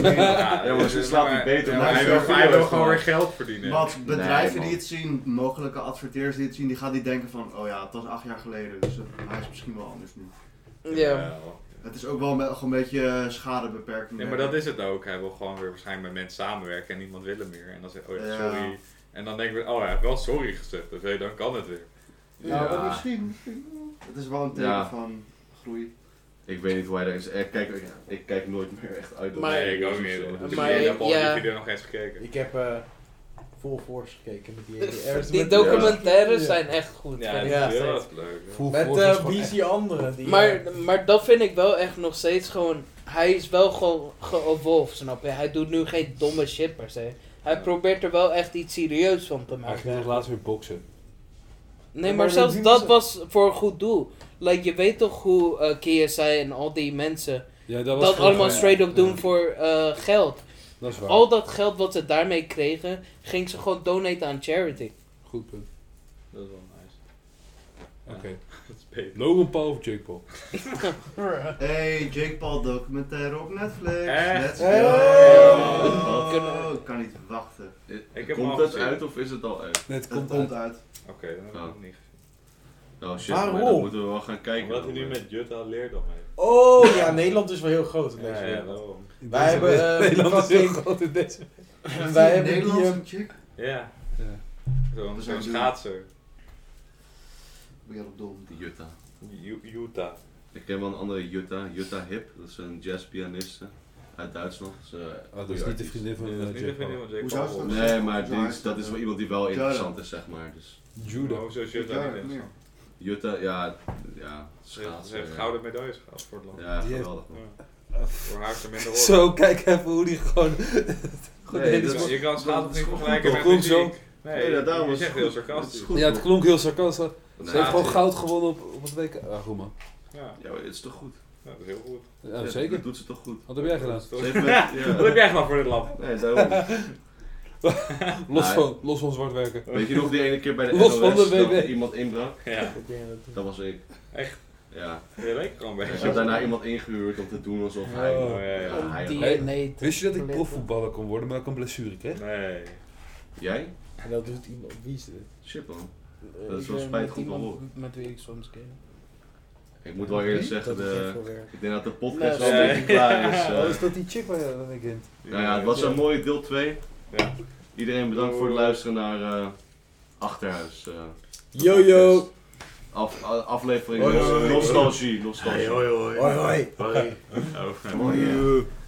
O: Ja,
B: Ja, maar ze slaapt niet beter,
O: Ja,
B: maar
O: maar
B: hij
O: hij
B: is
O: wil,
B: wel
O: hij wil
B: video's
O: gewoon weer
B: gemaakt.
O: geld verdienen.
C: Want
B: Nee,
C: bedrijven
B: man.
C: die het zien, mogelijke adverteerders die het zien, die gaan niet denken van, oh ja, het was acht jaar geleden, dus het- hij is misschien wel anders nu.
A: ja.
C: Het is ook wel me- gewoon een beetje eh, schadebeperking.
O: Nee, maar dat is het ook. Hij wil gewoon weer waarschijnlijk met mensen samenwerken en niemand wil hem meer. En dan zegt hij, oh ja,
C: Ja.
O: sorry. En dan denken we, oh hij heeft wel sorry gezegd. Dus hey, dan kan het weer.
C: Ja,
B: Ja.
C: maar Nou, misschien, misschien wel. Het is wel een teken
B: Ja.
C: van groei.
B: Ik weet niet hoe hij daar is. Ik kijk, ik, ik kijk nooit meer echt uit. op
A: Maar-
B: de
O: nee, ik ook
B: video's of
O: niet.
B: zo.
O: Dus
A: Maar-
O: ik heb al
A: ja.
O: die video nog eens gekeken.
E: Ik heb eh Full Force gekeken met die
A: De-
E: hele Aerosmith.
A: Die documentaires zijn echt goed.
O: Ja,
A: vind ik.
O: dat
E: Ja.
O: is heel erg leuk. ja.
D: Full
E: Met
D: Force was
E: eh
D: gewoon
E: wie is
D: echt-
E: die andere? Die, eh,
A: Maar, maar dat vind ik wel echt nog steeds gewoon. Hij is wel gewoon geëvolved, snap je? Hij doet nu geen domme shit per se. Hij
O: Ja.
A: probeert er wel echt iets serieus van te
D: Hij
A: maken.
D: ging nog laatst weer boksen.
A: Nee,
E: maar
A: maar
E: dat
A: zelfs
E: doen
A: dat
E: ze.
A: was voor een goed doel. Like, je weet toch hoe eh KSI en al die mensen
D: Ja, dat
A: dat,
D: was gewoon-
A: allemaal
D: ja,
A: straight up
D: ja.
A: doen voor eh, geld.
D: Dat is waar.
A: Al dat geld wat ze daarmee kregen, ging ze gewoon donaten aan charity.
D: Goed punt.
O: Dat is wel nice.
D: Oké.
O: Dat is beter.
D: Logan Paul of Jake Paul?
C: Hey, Jake Paul documentaire op Netflix.
O: Echt?
C: Let's
E: Hey.
A: We
C: go.
A: kunnen-
C: Ik kan niet wachten.
O: Ik heb hem al
B: Eh, Komt het
O: gezien.
B: uit of is het al uit?
D: Net
C: Het komt, uit.
O: Oké, dan heb ik
B: Oh.
O: het niet gezien.
B: Oh shit,
E: Waarom?
B: maar dan moeten we wel gaan kijken.
O: Omdat hij
B: dan,
O: nu
B: eh.
O: met Jutta leert dan mee.
E: Oh ja, Nederland is wel heel groot in deze
O: Ja, ja,
E: wereld.
O: daarom.
E: Wij hebben, eh,
D: Nederland is heel
E: fucking-
D: groot in deze.
E: En wij hebben die,
C: Nederlandse
E: ehm,
C: chick.
O: Ja.
D: Ja.
O: Zo'n
C: We
O: zo'n
C: zijn doen.
O: schaatser.
C: Weer op dom.
B: Die Jutta.
O: Ju- Jutta.
B: Ik ken wel een andere Jutta, Jutta Hip. Dat is een jazzpianiste uit Duitsland. Ze-
D: Oh, dat
B: goeie
D: is niet de
B: artiest.
D: vriendin van
O: Nee, dat
D: eh,
O: is niet de
D: Jake
O: vriendin
D: Paul.
O: van Jake
C: Hoe zou ze
O: Paul.
C: dat-
B: Nee, maar die is- dat is wel iemand die wel
C: Jutta.
B: interessant is, zeg maar. Dus
O: Maar
D: Judah.
O: Oh, Hoezo is
C: Ik
O: Jutta
C: daar
O: niet
C: meer.
O: in?
B: Jutta, ja, ja,
O: Ze heeft-
B: schaatsen.
O: ze heeft
B: ja.
O: gouden medailles gehad voor het land.
B: Ja,
D: Die heeft-
B: geweldig. man.
O: Ja. Voor haar is er
B: [laughs]
O: minder oorlog.
D: Zo, kijk even hoe die gewoon... Goed,
B: Nee,
D: nee,
B: dat
D: dit
B: is-
D: is-
O: Je kan schaatsen niet vergelijken
D: Dat
O: met
D: klonk zo.
O: muziek. Nee,
B: ja,
O: dat
B: daarom
O: je
B: is
O: zegt
B: het
O: heel
B: goed. Het
O: sarcastisch.
B: is goed,
D: Ja, het
B: man.
D: klonk heel sarcastisch. Ze
B: Nee,
D: heeft gewoon
B: het-
D: goud gewonnen op, op het WK. Ah, goed man.
O: Ja,
B: Ja, maar het is toch goed?
O: Ja, dat is heel goed.
D: Ja,
B: Ja,
D: zeker.
B: Dat doet ze toch goed?
D: Wat heb jij gedaan?
B: Ze heeft met-
O: [laughs]
B: ja.
O: Wat heb jij gedaan voor dit land?
B: Nee, daarom.
D: Los
B: Nou,
D: van, los van zwart werken.
B: Weet je nog die ene keer bij de
D: Los van
B: NOS
D: de
B: dat
D: WW.
B: iemand inbrak?
O: Ja.
B: Dat was ik.
O: Echt?
B: Ja.
O: Je leek gewoon
B: Ik
O: bij.
B: heb daarna iemand ingehuurd om te doen alsof hij...
D: Oh.
O: Oh, ja, ja.
B: Ja, hij-
A: Die
D: Hey,
A: nee. te
D: Wist je dat ik
A: verlitten.
D: profvoetballer kon worden, maar ik een blessure kreeg?
O: Nee.
B: Jij?
E: En dat doet iemand. Wie is dit?
B: Shit man.
A: Eh,
B: Dat is
A: ik
B: wel
A: ben
B: spijtig
A: met
B: om te
A: iemand
B: horen.
A: Met wie ik soms game.
B: Ik moet wel eerlijk zeggen,
E: dat is echt
B: de,
E: wel weer.
B: ik denk dat de podcast
A: Nee,
B: wel een
O: nee.
B: beetje klaar is. eh.
D: Oh, is dat die chick waar je dan in kent?
B: Nou ja, het was een mooie deel 2.
O: Ja.
B: Iedereen bedankt voor het luisteren naar eh, Achterhuis. eh,
E: Yo yo!
B: af, a- aflevering
E: Hoi,
B: nos-
E: hoi, hoi.
B: Nostalgie. nostalgie.
E: Hoi hoi!
B: Mooi, eh.